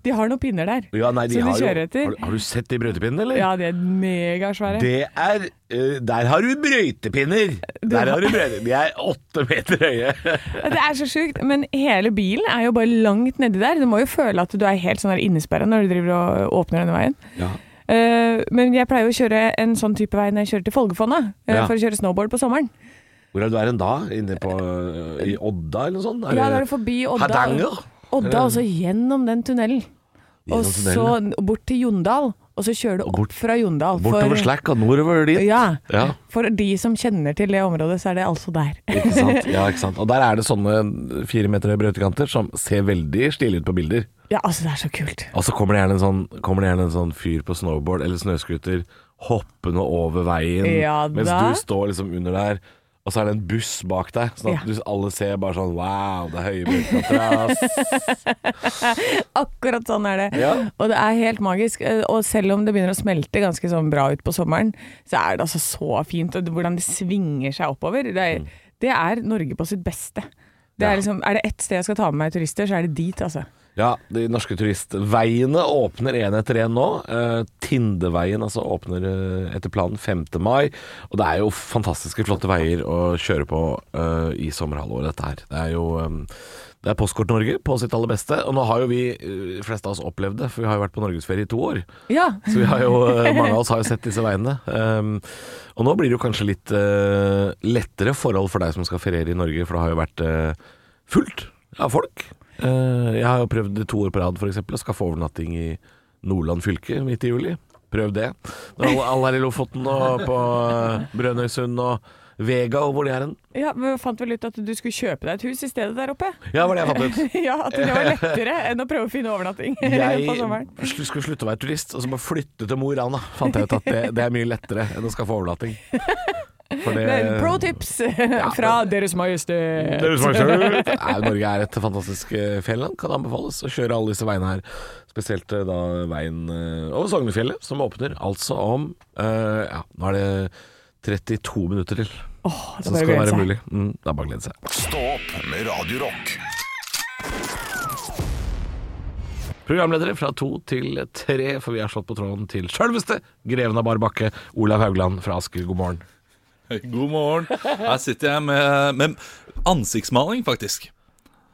S3: de har noen pinner der.
S5: ja, nei, de
S3: som de
S5: har, jo,
S3: kjører etter.
S5: har, du- har du sett de brøytepinnene, eller?
S3: Ja, de er megasvære.
S5: Det er eh, Der har du
S3: [LAUGHS]
S5: brøytepinner! Der har du brøyte. De er åtte meter høye.
S3: Det er så sjukt, men hele bilen er jo bare langt nedi der. Du må jo føle at du er helt sånn der innesperra når du driver og åpner denne veien.
S5: [LAUGHS] Ja.
S3: Eh, men jeg pleier jo å kjøre en sånn type vei når jeg kjører til Folgefonna eh,
S5: Ja.
S3: for å kjøre snowboard på sommeren.
S5: Hvor er du er en da? Inne på eh, I Odda, eller noe sånt?
S3: Ja, da er det forbi Odda.
S5: Eh, Hardanger?
S3: Odda, og så gjennom den tunnelen.
S5: Eh, Gjennom
S3: Og så
S5: tunnelen,
S3: bort til Jondal, og så kjører du
S5: Og
S3: opp
S5: bort-
S3: fra Jondal.
S5: Bortover Slakk og nordover dit?
S3: Ja.
S5: Ja.
S3: For de som kjenner til det området, så er det altså der.
S5: Ikke sant? ja, ikke sant. Og der er det sånne fire meter høye brøytekanter som ser veldig stille ut på bilder.
S3: [LAUGHS] Ja, altså, det er så kult.
S5: Og så kommer det gjerne en sånn, kommer det gjerne en sånn fyr på snowboard eller snøskuter hoppende over veien,
S3: Ja
S5: mens
S3: da.
S5: du står liksom under der. Og så er det en buss bak deg, sånn at
S3: Ja.
S5: du, alle ser bare sånn Wow, det er høye brøytekanter, ass.
S3: Akkurat sånn er det.
S5: Ja.
S3: Og det er helt magisk. Eh, Og selv om det begynner å smelte ganske sånn bra ut på sommeren, så er det altså så fint. Og det- hvordan det svinger seg oppover. Det er, det er Norge på sitt beste. Det
S5: Mm.
S3: er,
S5: Ja.
S3: liksom, er det ett sted jeg skal ta med meg turister, så er det dit, altså.
S5: Ja, de norske turistveiene åpner én etter én nå. Eh, Tindeveien altså åpner eh, etter planen 5. mai. Og det er jo fantastiske flotte veier å kjøre på eh, i sommerhalvåret, dette her. Det er jo eh, det er Postkort Norge på sitt aller beste. Og nå har jo vi eh, fleste av oss opplevd det, for vi har jo vært på norgesferie i to år.
S3: Ja.
S5: Så vi har jo, eh, mange av oss har jo sett disse veiene. Um, og nå blir det jo kanskje litt eh, lettere forhold for deg som skal feriere i Norge, for det har jo vært eh, fullt av folk. Eh, jeg har jo prøvd det to år på rad f.eks. å skaffe overnatting i Nordland fylke midt i juli. Prøv det. Når alle, alle er i Lofoten og på eh, Brønnøysund og Vega og hvor de er hen.
S3: Ja, men vi fant vel ut at du skulle kjøpe deg et hus i stedet der oppe?
S5: Ja, det var det jeg fant ut.
S3: [LAUGHS] ja, at det
S5: [LAUGHS]
S3: var lettere enn å prøve å finne overnatting [LAUGHS] på sommeren.
S5: Jeg sl- skulle slutte å være turist, og så bare flytte til Mo i Rana. Fant jeg ut at det, det er mye lettere enn å skaffe overnatting. For det-
S3: Men Pro tips [LAUGHS] fra Deres Majestet.
S5: Deres Majestet. Nei, Norge er et fantastisk eh, fjellland. Kan anbefales å kjøre alle disse veiene her. Spesielt eh, da veien eh, over Sognefjellet, som åpner altså om eh, Ja, nå er det 32 minutter til.
S3: Åh,
S5: Så
S3: det
S5: skal
S3: er bare å
S5: det
S3: glede
S5: være
S3: seg.
S5: mulig. Mm, det er bare å glede seg.
S1: Stå opp med Radio Rock.
S5: Programledere fra to til tre, for vi har slått på tråden til sjølveste greven av bar bakke, Olav Haugland fra Asker. God morgen.
S9: God morgen. Her sitter jeg med, med ansiktsmaling, faktisk.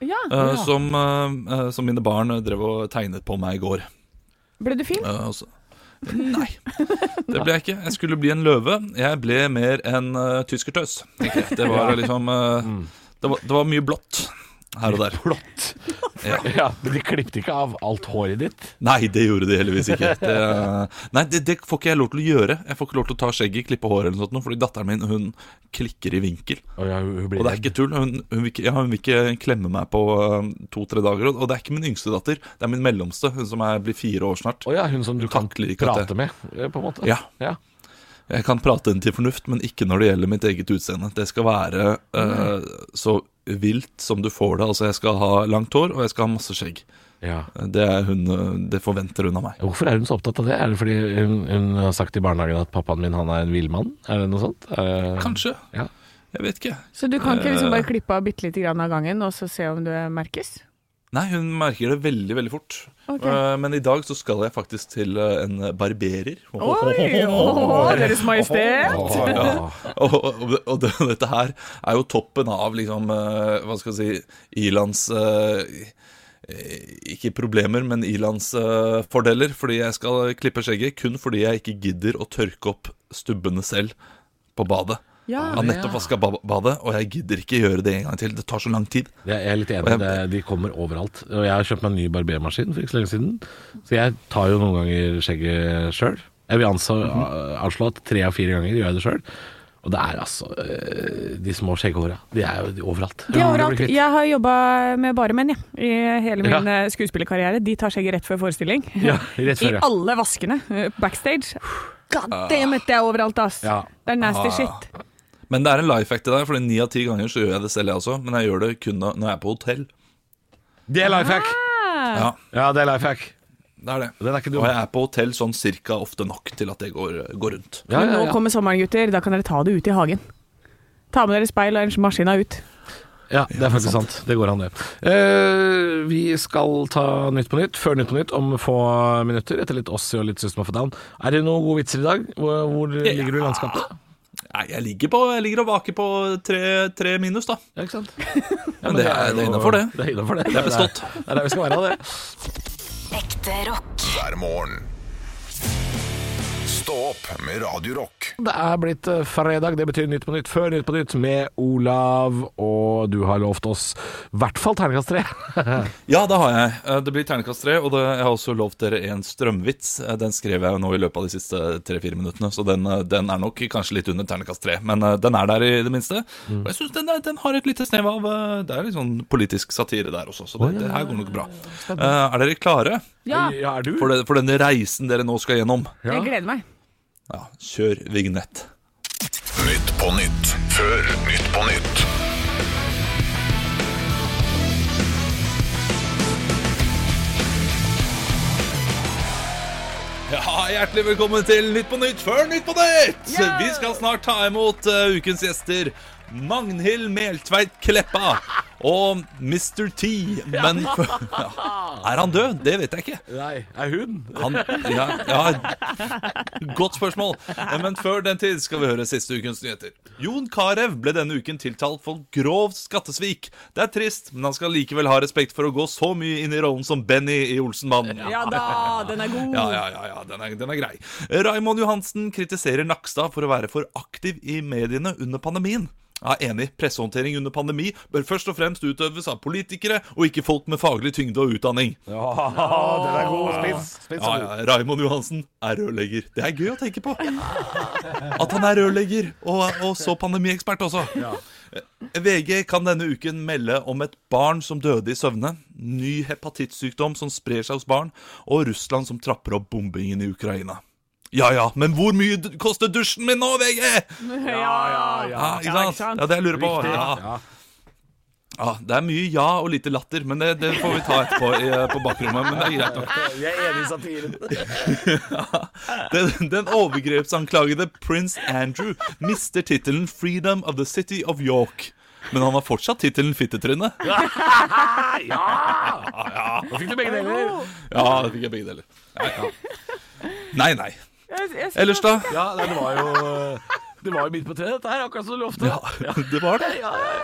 S3: Ja,
S9: eh,
S3: ja.
S9: Som, eh, eh, som mine barn drev og tegnet på meg i går.
S3: Ble du fin?
S9: Eh, og så- Nei, det ble jeg ikke. Jeg skulle bli en løve. Jeg ble mer en eh, tyskertøs. tenker jeg. Det var liksom eh, det, var, det var mye blått her og der. Blått? Ja.
S5: Ja, men De klippet ikke av alt håret ditt.
S9: Nei, det gjorde de heldigvis ikke. Det, eh, nei, det, det får ikke jeg lov til å gjøre. Jeg får ikke lov til å ta skjegget, klippe håret eller noe sånt, nå, fordi datteren min hun klikker i vinkel. Og det er ikke tull. Hun, hun, vil, ikke, ja, hun vil ikke klemme meg på eh, to-tre dager. Og det er ikke min yngste datter, det er min mellomste, hun som er, blir fire år snart.
S5: Å ja, hun som du kan
S9: Takler ikke at
S5: prate med, eh, på en måte.
S9: Ja. Jeg kan prate henne til fornuft, men ikke når det gjelder mitt eget utseende. Det skal være eh,
S3: Mm.
S9: så vilt som du får det. Altså, jeg skal ha langt hår, og jeg skal ha masse skjegg.
S5: Ja.
S9: Det, er hun, eh, det forventer hun av meg.
S5: Hvorfor er hun så opptatt av det? Er det fordi hun, hun har sagt i barnehagen at pappaen min han er en villmann? Er det noe sånt? Eh,
S9: Kanskje.
S5: Ja.
S9: Jeg vet ikke.
S3: Så du kan ikke liksom bare
S9: Eh.
S3: klippe av bitte lite grann av gangen, og så se om du merkes?
S9: Nei, hun merker det veldig, veldig fort.
S3: Ok.
S9: Eh, men i dag så skal jeg faktisk til eh, en barberer.
S3: Oi! åh, Deres Majestet!
S9: Åh, ja. [LAUGHS] og, og, og det, dette her er jo toppen av liksom eh, Hva skal jeg si Ilands eh, eh, Ikke problemer, men Ilands eh, fordeler. Fordi jeg skal klippe skjegget kun fordi jeg ikke gidder å tørke opp stubbene selv på badet.
S3: Ja,
S9: Jeg har nettopp vaska badet, og jeg gidder ikke gjøre det en gang til. Det tar så lang tid.
S5: Jeg er litt enig, det, de kommer overalt. Og jeg har kjøpt meg en ny barbermaskin for ikke så lenge siden, så jeg tar jo noen ganger skjegget sjøl. Jeg vil anså,
S3: Mhm.
S5: avslå at tre av fire ganger gjør jeg det sjøl. Og det er altså eh, De små skjegghåra. De er jo overalt.
S3: De er overalt.
S5: Blir kvitt.
S3: Jeg har jobba med bare menn, jeg. I hele min
S5: Ja.
S3: eh, skuespillerkarriere. De tar skjegget rett før forestilling.
S5: [LAUGHS] Ja, rett
S3: I
S5: før, ja.
S3: alle vaskene. eh, Backstage. God damn it, det er overalt, ass.
S5: Ja. Ah.
S3: Det er nasty shit.
S9: Men det er en life hack til deg, for ni av ti ganger så gjør jeg det selv, jeg også. Men jeg gjør det kun når når jeg er på hotell.
S5: Det er life hack!
S9: Ja,
S5: Ja, det er life hack.
S9: det er det.
S5: Den er ikke dum.
S9: Og jeg er på hotell sånn cirka ofte nok til at det går, går rundt.
S5: Ja,
S3: Men
S5: ja,
S3: nå
S5: ja.
S3: kommer sommeren, gutter. Da kan dere ta det ut i hagen. Ta med dere speil og en maskina ut.
S5: Ja, det er faktisk sant. Det går an, det. Eh, vi skal ta Nytt på Nytt før Nytt på Nytt om få minutter, etter litt Ossi og litt System of a Down. Er det noen gode vitser i dag? Hvor, hvor ligger du i landskapet?
S9: Nei, jeg ligger, på, jeg ligger og vaker på tre, tre minus, da.
S5: Ja,
S9: [LAUGHS]
S5: ikke sant?
S9: Men, det, er, det er innenfor, det.
S5: Det er innenfor det.
S9: Det er bestått.
S5: Det er der vi skal være, det.
S6: Ekte rock.
S1: hver morgen. Stå opp med Radio Rock.
S5: Det er blitt eh, fredag, det betyr Nytt på Nytt før Nytt på Nytt med Olav, og du har lovt oss i hvert fall terningkast tre. [LAUGHS]
S9: Ja, det har jeg. Eh, Det blir ternekast tre. Og det, jeg har også lovt dere en strømvits. Eh, Den skrev jeg jo nå i løpet av de siste tre-fire minuttene, så den, eh, den er nok kanskje litt under ternekast tre. Men eh, den er der i det minste. Og jeg syns den, er- den har et lite snev av eh, Det er litt sånn politisk satire der også, så det, det her går nok bra. Eh, Er dere klare
S3: Ja,
S5: Ja, er du?
S9: for, det, for denne reisen dere nå skal gjennom?
S3: jeg gleder meg.
S9: Ja, kjør vignett.
S1: Nytt på nytt før Nytt på nytt.
S9: Ja, Hjertelig velkommen til Nytt på Nytt før Nytt på Nytt! Vi skal snart ta imot eh, ukens gjester Magnhild Meltveit Kleppa og Mr. T. Men ja. Er han død? Det vet jeg ikke.
S5: Nei, er hun?
S9: Han, ja, ja, godt spørsmål. Eh, Men før den tid skal vi høre siste ukens nyheter. Jon Carew ble denne uken tiltalt for grovt skattesvik. Det er trist, men han skal likevel ha respekt for å gå så mye inn i rollen som Benny i Olsenmannen.
S3: Ja da, den er god.
S9: Ja, ja, ja, ja den, er, den er grei. Raimond Johansen kritiserer Nakstad for å være for aktiv i mediene under pandemien. Ja, enig. Pressehåndtering under pandemi bør først og fremst utøves av politikere, og ikke folk med faglig tyngde og utdanning. Ja,
S5: den er god. Spiss. spiss
S9: ja, Raimond Johansen er rørlegger. Det er gøy å tenke på. At han er rørlegger, og, og så pandemiekspert også. Eh, VG kan denne uken melde om et barn som døde i søvne, ny hepatittsykdom som sprer seg hos barn, og Russland som trapper opp bombingen i Ukraina. Ja ja, men hvor mye d- koster dusjen min nå, VG?!
S3: Ja,
S9: Ja, ikke
S3: Ja, ikke
S9: sant?
S3: sant?
S9: Ja, det jeg lurer på. Ja. Ja, det er mye ja og lite latter, men det, det får vi ta etterpå i, eh, på bakrommet. Men det er greit nok.
S5: Jeg er enig i satiren.
S9: Den, den overgrepsanklagede prins Andrew mister tittelen 'Freedom of the City of York'. Men han har fortsatt tittelen 'Fittetryne'.
S5: Nå fikk du begge deler.
S9: Ja, det fikk jeg begge deler. Nei, nei.
S3: Jeg- jeg synes
S9: Ellers, da?
S5: Ja, det var jo eh, Det var jo midt på treet, dette her, akkurat som du lovte.
S9: Ja, [LAUGHS] det var det.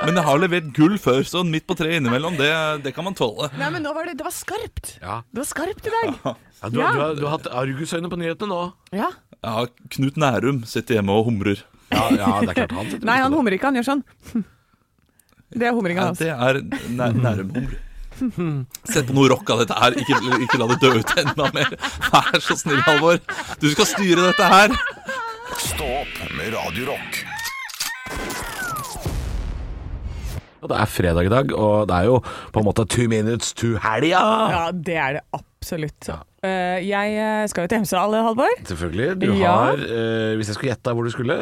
S9: Men jeg har levert gull før, så midt på treet innimellom, det, det kan man tåle.
S3: Nei, men nå var det, det var skarpt.
S5: Ja.
S3: Det var skarpt i dag.
S5: Ja, du, har- du, har, du har hatt argusøyne på nyhetene nå.
S3: Ja.
S9: Ja, Knut Nærum sitter hjemme og humrer.
S5: Ja, det er klart han sitter
S3: Nei, han humrer ikke, han gjør sånn. [LAUGHS] Det er humringa
S9: Ja,
S3: hans.
S9: det er næ Nærum-humre. Sett på noe rock av dette her. Ikke, ikke la det dø ut enda mer. Vær så snill, Halvor. Du skal styre dette her.
S1: Stå opp med Radio Rock.
S5: Det er fredag i dag, og det er jo på en måte two minutes to helga.
S3: Ja, det er det absolutt. Eh, jeg eh, skal jo til Hemsedal, Halvor.
S5: Selvfølgelig. Du
S3: Ja.
S5: har eh, Hvis jeg skulle gjette hvor du skulle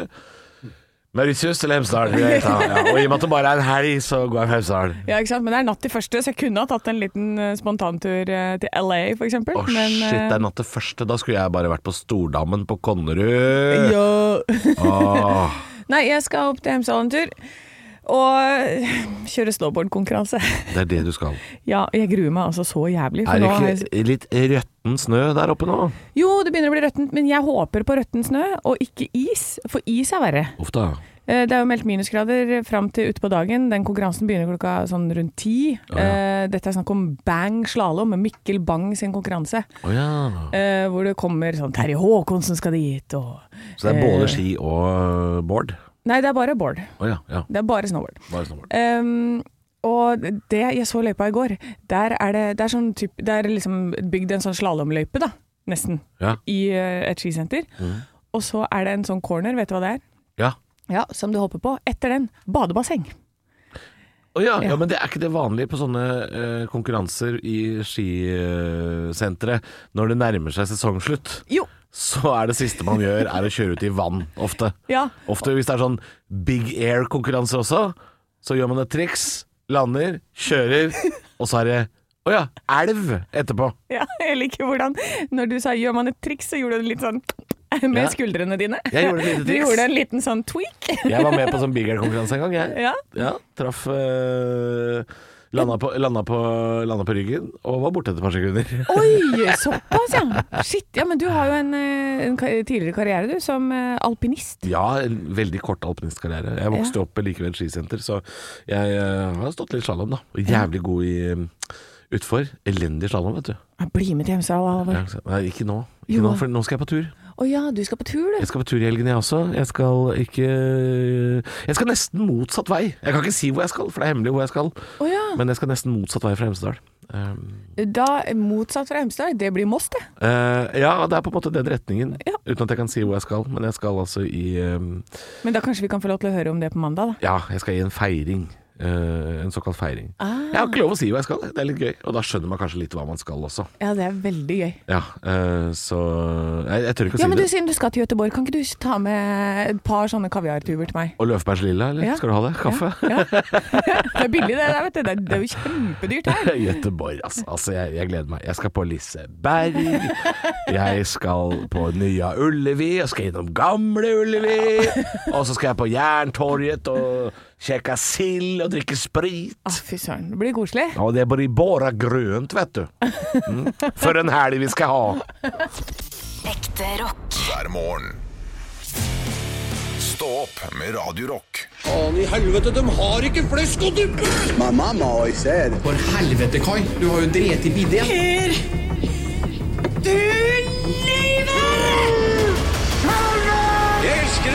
S5: Mauritius eller Hemsedal. vil jeg gjette. Ja, og i og med at det bare er en helg, så går jeg for Hemsedal.
S3: Ja, ikke sant? Men det er natt til første, så jeg kunne ha tatt en liten eh, spontantur eh, til LA, for eksempel.
S5: Å
S3: men,
S5: shit,
S3: eh,
S5: det er natt til første. Da skulle jeg bare vært på Stordammen på Konnerud.
S3: ja. [LAUGHS]
S5: Åh.
S3: Nei, jeg skal opp til Hemsedal en tur. Og [LAUGHS] kjøre snowboardkonkurranse.
S5: Det er det du skal.
S3: Ja, jeg gruer meg altså så jævlig. for
S5: Er
S3: nå har
S5: det
S3: jeg-
S5: ikke litt røtten snø der oppe nå?
S3: Jo, det begynner å bli røttent, men jeg håper på røtten snø, og ikke is, for is er verre.
S5: Uff da.
S3: Eh, Det er jo meldt minusgrader fram til utpå dagen. Den konkurransen begynner klokka sånn rundt ti. Eh, Dette er snakk om Bang slalåm, Mikkel Bang sin konkurranse.
S5: Å ja.
S3: eh, Hvor det kommer sånn Terje Håkonsen skal dit, og
S5: Så det er både
S3: Eh.
S5: ski og eh, board?
S3: Nei, det er bare board.
S5: Å ja. ja.
S3: Det er bare snowboard.
S5: Bare snowboard.
S3: Ehm, og det jeg så løypa i går, der er det, det er sånn typ, Det er liksom bygd en sånn slalåmløype, da, nesten,
S5: Ja.
S3: i eh, et skisenter.
S5: Mm.
S3: Og så er det en sånn corner, vet du hva det er?
S5: Ja.
S3: Ja, Som du hopper på. Etter den, badebasseng.
S5: Å ja, ja, men det er ikke det vanlige på sånne eh, konkurranser i skisentre. Når det nærmer seg sesongslutt,
S3: Jo.
S5: så er det siste man gjør, er å kjøre ut i vann, ofte.
S3: Ja. [LAUGHS]
S5: Ofte hvis det er sånn big air-konkurranse også, så gjør man et triks, lander, kjører, og så er det å ja, elv etterpå.
S3: ja. Jeg liker hvordan Når du sa 'gjør man et triks', så gjorde du litt sånn [LAUGHS] med
S5: Ja.
S3: skuldrene dine.
S5: Jeg gjorde et lite
S3: Du
S5: triks.
S3: gjorde en liten sånn tweak.
S5: Jeg var med på sånn big air-konkurranse en gang, jeg.
S3: Ja.
S5: traff eh, landa, på, landa, på, landa på ryggen og var borte etter et par sekunder. [LAUGHS]
S3: Oi, såpass, ja. Shit. Ja, men du har jo en, eh, en ka- tidligere karriere, du, som eh, alpinist.
S5: Ja, en veldig kort alpinistkarriere. Jeg vokste
S3: Ja.
S5: opp like ved et skisenter, så jeg eh, har stått litt slalåm, da. Og Jævlig god i eh, utfor. Elendig slalåm, vet du.
S3: Bli med til Hemsedal, Halvor.
S5: Ja, ikke sant? Nei, ikke nå. Ikke
S3: Jo.
S5: nå, for nå skal jeg på tur.
S3: Å ja, du skal på tur, du.
S5: Jeg skal på tur i helgen, jeg også. Jeg skal ikke Jeg skal nesten motsatt vei. Jeg kan ikke si hvor jeg skal, for det er hemmelig hvor jeg skal.
S3: Å ja.
S5: Men jeg skal nesten motsatt vei fra Hemsedal. Um,
S3: Da motsatt fra Hemsedal, det blir Moss, det.
S5: Eh, ja, det er på en måte den retningen.
S3: Ja.
S5: Uten at jeg kan si hvor jeg skal. Men jeg skal altså i ehm,
S3: Men da kanskje vi kan få lov til å høre om det på mandag, da.
S5: Ja, jeg skal i en feiring. Eh, en såkalt feiring.
S3: Ah.
S5: Jeg har ikke lov å si hvor jeg skal. Det er litt gøy. Og da skjønner man kanskje litt hva man skal også.
S3: Ja, det er veldig gøy.
S5: Ja, eh, så jeg, jeg tør ikke å si
S3: Ja, men du,
S5: det.
S3: Siden du skal til Gøteborg, kan ikke du ta med et par sånne kaviartuber
S5: [LAUGHS]
S3: til meg?
S5: Og løvbærslilla, eller?
S3: Ja.
S5: Skal du ha det? Kaffe?
S3: Det er billig det der, vet du. Det er, det er jo
S5: [LAUGHS]
S3: kjempedyrt her.
S5: Gøteborg, altså. altså jeg, jeg gleder meg. Jeg skal på Liseberg. Jeg skal på Nya Ullevi. Jeg skal innom Gamle Ullevi. Og så skal jeg på Jerntorget og kjekke sild og drikke sprit.
S3: Å, fy søren. Det blir koselig.
S5: Ja, det blir bare grønt, vet du. Mm. For en helg vi skal ha.
S6: Ekte rock.
S1: hver morgen. Stå opp med Radio Rock.
S10: Jeg elsker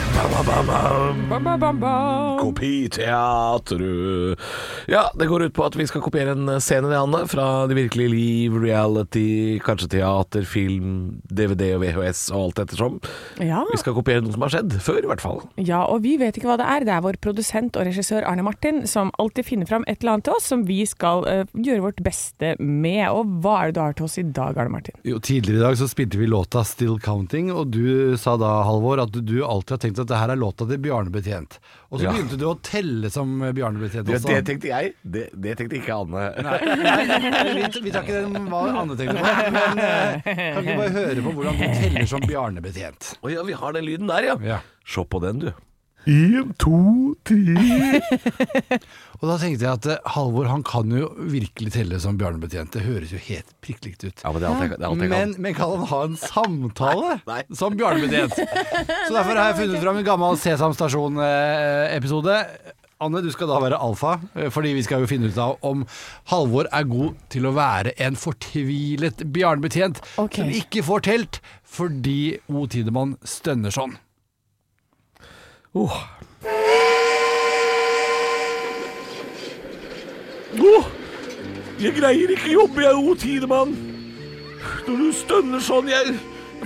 S3: Bam, bam, bam, bam.
S5: Kopiteatru. Mm. Ja, det går ut på at vi skal kopiere en scene det Anne, fra det virkelige liv, reality, kanskje teater, film, DVD og VHS og alt ettersom.
S3: Ja.
S5: Vi skal kopiere noe som har skjedd før, i hvert fall.
S3: ja, og vi vet ikke hva det er. Det er vår produsent og regissør Arne Martin som alltid finner fram et eller annet til oss som vi skal eh, gjøre vårt beste med. Og hva er det du har til oss i dag, Arne Martin?
S9: Jo, tidligere i dag så spilte vi låta 'Still Counting', og du sa da, Halvor, at du alltid har tenkt at det her er låta til Bjarne Betjent. Og så
S5: Ja.
S9: begynte du å telle som Bjarne Betjent
S5: Det,
S9: også.
S5: det tenkte jeg. Det, det tenkte ikke Anne. [LAUGHS]
S9: Nei, nei, vi, vi tar ikke den hva Anne tenkte på, men eh, kan ikke bare høre på hvordan du teller som Bjarne Betjent.
S5: Å ja, vi har den lyden der, ja. Se på den, du.
S9: En, to, tre Og da tenkte jeg at eh, Halvor han kan jo virkelig telle som Bjarne Betjent. Det høres jo helt prikklikt ut.
S5: Ja, men det er alt jeg kan- det er alt jeg kan.
S9: Men, men kan han ha en samtale som Bjarne Betjent? Så derfor har jeg funnet fram en gammel Sesam Stasjon-episode. Anne, du skal da være alfa, eh, fordi vi skal jo finne ut av om Halvor er god til å være en fortvilet Bjarne Betjent som ikke får telt fordi O. Tidemann stønner sånn.
S5: Oh. Oh. Jeg greier ikke jobbe, jeg, O Tidemann. Når du stønner sånn, jeg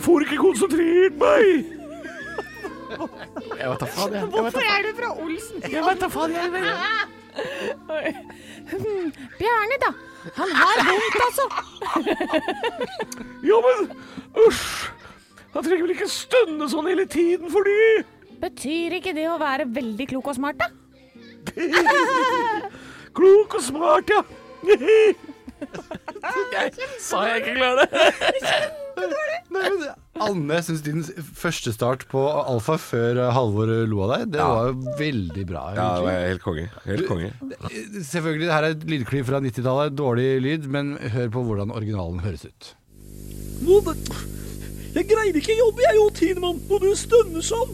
S5: får ikke konsentrert meg. Jeg vet da faen, jeg. jeg vet da.
S11: er du fra Olsen?
S5: Jeg vet da faen, jeg vet.
S11: Hmm, Bjarne, da. Han har vondt, altså.
S5: Ja, men Usch. Han trenger vel ikke stønne sånn hele tiden fordi
S11: Betyr ikke det å være veldig klok og smart, da?
S5: Klok og smart,
S11: [LAUGHS]
S5: ja. Jeg sa jeg ikke klarer det.
S9: Nei, men Anne syns din første start på Alfa før eh, Halvor lo av deg, det
S5: Ja.
S9: var jo veldig bra.
S5: Ja, det
S9: egentlig.
S5: var helt konge. Helt konge.
S9: Eh, Selvfølgelig, det her er et lydklipp fra 90-tallet. Dårlig lyd, men hør på hvordan originalen høres ut.
S12: Nå, det, jeg greier ikke jobbe, jeg, Jo Tidemann, når du stønner sånn.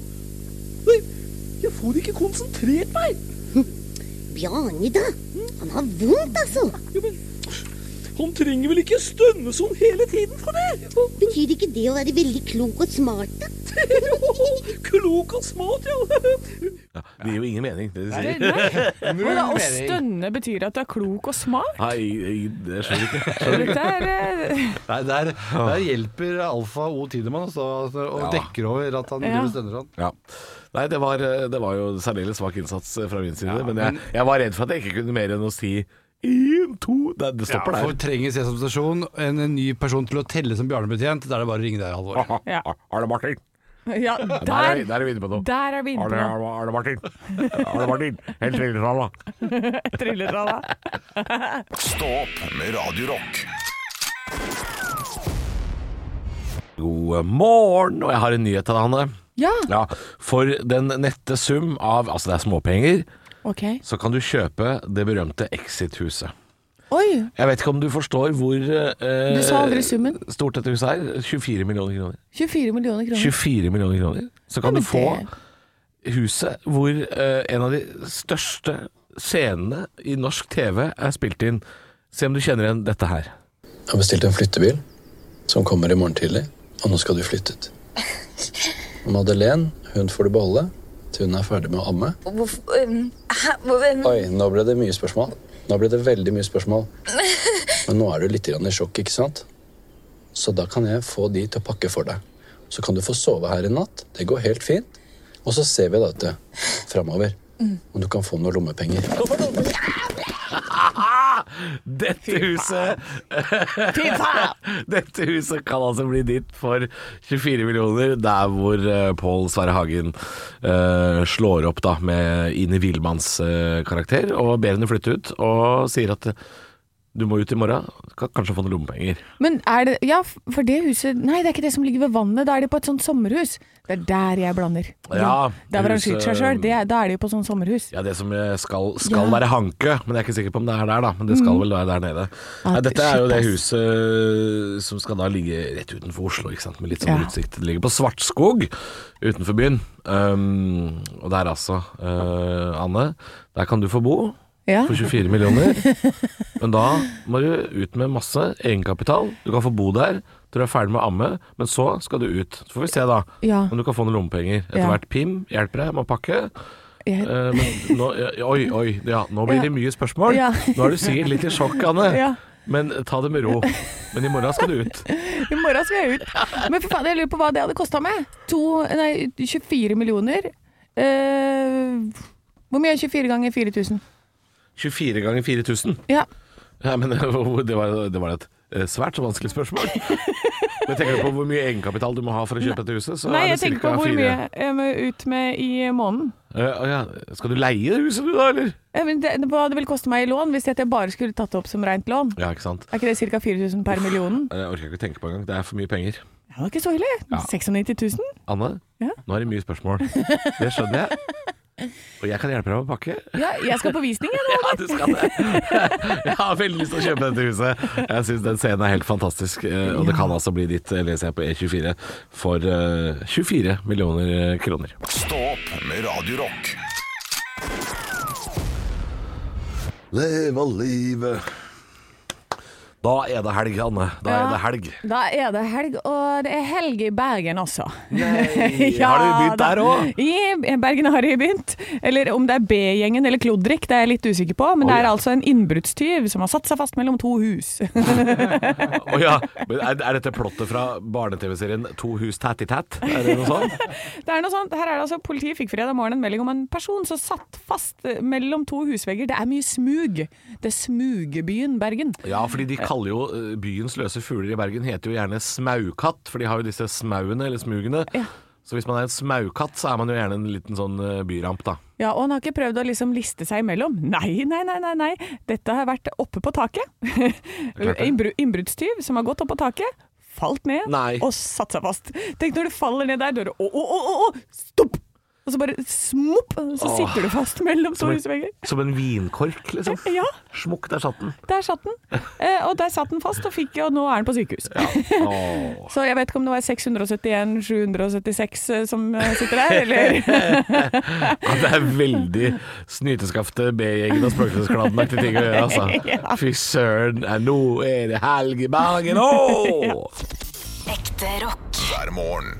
S12: Nei, Jeg får ikke konsentrert meg.
S11: Bjarne, da. Han har vondt, altså.
S12: Han trenger vel ikke stønne sånn hele tiden for det?
S11: Betyr ikke det å være veldig klok og smart, da?
S12: Klok og smart, ja.
S5: Ja, det gir jo ingen mening, det de [LAUGHS]
S3: [LAUGHS] Nei,
S5: sier.
S3: nei. Og da, å
S5: mening.
S3: stønne betyr at du er klok og smart.
S5: Nei, jeg- det skjønner jeg ikke. Skjønner
S3: Dette
S5: ikke.
S3: er eh, [LAUGHS]
S9: Nei, der, der hjelper Alfa O. Tidemann altså, altså, og
S5: Ja.
S9: dekker over at
S3: Ja.
S9: han driver og stønner sånn.
S5: Ja. Nei, det var, eh, det var jo særdeles svak innsats eh, fra min side, men jeg, jeg var redd for at jeg ikke kunne mer enn å si én, to Det, det stopper
S9: Ja, for
S5: der.
S9: trenger Sesam Stasjon en, en ny person til å telle som Bjarne Betjent, da er det bare å ringe deg, [LAUGHS] Halvor.
S3: Ja.
S5: Arne Martin.
S3: Ja,
S5: Der er, vi-
S3: der,
S5: der er vi inne på noe.
S3: der er vi inne på
S5: Arne,
S3: noe.
S5: Arne, Arne Martin.
S3: [LAUGHS]
S5: Arne Martin. Helt trilletralla.
S3: Trilletralla.
S1: Stå opp med Radio Rock.
S5: God morgen, og jeg har en nyhet til deg, Hanne.
S3: Ja,
S5: Ja, for den nette sum av Altså, det er småpenger.
S3: OK.
S5: Så kan du kjøpe det berømte Exit-huset.
S3: Oi,
S5: Jeg vet ikke om du forstår hvor eh,
S3: Du sa aldri summen.
S5: stort dette huset er. 24 millioner kroner.
S3: 24 millioner kroner.
S5: 24 millioner kroner. Så kan
S3: Ja, men
S5: du få
S3: det-
S5: huset hvor eh, en av de største scenene i norsk TV er spilt inn. Se om du kjenner igjen dette her.
S13: Jeg har bestilt en flyttebil som kommer i morgen tidlig, og nå skal du
S14: [LAUGHS]
S13: flyttet. Og Madeleine, hun får du beholde til hun er ferdig med å amme.
S14: Hvorfor øhm, um, hæ? Hvor- øhm,
S13: Oi, nå ble det mye spørsmål. Nå ble det veldig
S14: [LAUGHS]
S13: mye spørsmål. Men nå er du litt grann i sjokk, ikke sant? Så da kan jeg få de til å pakke for deg. Så kan du få sove her i natt. Det går helt fint. Og så ser vi da til framover
S14: Mm.
S13: om du kan få noen lommepenger.
S5: Dette huset [LAUGHS] Dette huset kan altså bli ditt for 24 millioner, der hvor eh, Pål Sverre Hagen eh, slår opp da med Ine Wilmanns eh, karakter og ber henne flytte ut, og sier at eh, du må ut i morgen, kan kanskje få noen lommepenger.
S3: Men er det Ja, for det huset Nei, det er ikke det som ligger ved vannet. Da er de på et sånt sommerhus. Det er der jeg blander.
S5: Ja,
S3: Der hvor han
S5: huset-
S3: skyter seg sjøl. Da er de på sånt sommerhus.
S5: Ja, det som eh, skal, skal
S3: Ja.
S5: være Hankø, men jeg er ikke sikker på om det er der, da. Men det skal
S3: Mhm.
S5: vel være der nede.
S3: Ja,
S5: Nei, dette er jo
S3: shit,
S5: det
S3: ass.
S5: huset som skal da ligge rett utenfor Oslo, ikke sant. Med litt sånn
S3: Ja.
S5: utsikt. Det ligger på Svartskog utenfor byen. Um, og der altså, eh, Anne, der kan du få bo.
S3: Ja.
S5: for 24
S3: [LAUGHS]
S5: millioner. Men da må du ut med masse egenkapital. Du kan få bo der til du er ferdig med å amme, men så skal du ut. Så får vi se, da,
S3: Ja.
S5: om du kan få noen lommepenger. Etter
S3: Ja.
S5: hvert PIM hjelper deg med å pakke.
S3: Jeg-
S5: Eh, men nå, ja, oi, oi, ja, nå blir
S3: Ja.
S5: det mye spørsmål.
S3: Ja.
S5: Nå er du sikkert litt i sjokk, Anne.
S3: Ja.
S5: Men ta det med ro. Men i morgen skal du ut.
S3: I morgen skal jeg ut. Men for faen, jeg lurer på hva det hadde kosta meg. To, nei, 24 millioner. Eh, hvor mye er 24 ganger 4000?
S5: 24 ganger 4000.
S3: Ja.
S5: Ja, men [LAUGHS] hvor- det var, det var et eh, svært så vanskelig spørsmål. Men tenker du på hvor mye egenkapital du må ha for å kjøpe dette huset, så
S3: Nei,
S5: er
S3: jeg
S5: det
S3: tenker
S5: cirka
S3: på hvor
S5: fire.
S3: mye jeg må ut med i måneden.
S5: Eh, å ja. Skal du leie det huset du, da, eller?
S3: Eh, men det, hva det ville koste meg i lån hvis jeg bare skulle tatt det opp som rent lån?
S5: Ja, ikke sant. Eh,
S3: Er ikke det ca. 4000 per million?
S5: Jeg orker ikke å tenke på engang. Det er for mye penger.
S3: Det var ikke så ille.
S5: Ja.
S3: 96 000?
S5: Anne,
S3: Ja.
S5: nå er det mye spørsmål. Det skjønner
S3: [LAUGHS]
S5: jeg. Og jeg kan hjelpe deg med å pakke.
S3: Ja, jeg skal på visning, jeg nå.
S5: [LAUGHS] Ja, du skal det. Jeg har veldig lyst til å kjøpe dette huset. Jeg syns den scenen er helt fantastisk, eh, og det kan altså bli ditt, eh, leser jeg på E24, for eh, 24 millioner eh, kroner.
S1: Stå opp med Radio Rock.
S5: Leve livet. Da er det helg, Anne. Da er
S3: Ja.
S5: det helg.
S3: Da er det helg, og det er helg i Bergen også. [LAUGHS]
S5: Nei, har du begynt
S3: da.
S5: der også?
S3: I Bergen har de begynt. Eller om det er B-gjengen eller Klodrik, det er jeg litt usikker på. Men det er altså en innbruddstyv som har satt seg fast mellom to hus.
S5: Å ja. Men Er, er dette plottet fra barne-TV-serien To hus tætt i tætt? Er det noe sånt?
S3: Det er noe sånt, her er det altså Politiet fikk fredag morgen en melding om en person som satt fast eh, mellom to husvegger. Det er mye smug. Det er smugebyen Bergen.
S5: Ja, fordi de kaller jo eh, byens løse fugler i Bergen heter jo gjerne smaukatt, for de har jo disse smauene eller smugene. Så hvis man er en smaukatt, så er man jo gjerne en liten sånn eh, byramp, da.
S3: Ja, Og han har ikke prøvd å liksom liste seg imellom. Nei, nei, nei, nei. nei. Dette har vært oppe på taket. [LAUGHS]
S5: klart det.
S3: Innbru- Innbruddstyv som har gått opp på taket, falt ned og satt seg fast. Tenk når du faller ned der, da er det å, å, å, å, å, stopp! Og så bare smopp, så
S5: Åh.
S3: sitter du fast mellom to
S5: Som en-
S3: husvegger.
S5: Som en vinkork, liksom.
S3: Ja,
S5: Smukk, der satt den.
S3: der satt den. Eh, og der satt den fast, og, fikk, og nå er den på sykehus.
S5: Åh.
S3: Så jeg vet ikke om det var 671 776 eh, som eh, sitter der, eller
S5: Ja, det er veldig snyteskafte B-gjengen og Spøkelseskladden-aktige ting å gjøre, altså.
S6: Ja.
S5: Fy søren, ja, nå er det helg i Bergen òg!
S6: Ekte rock.
S1: Hver morgen.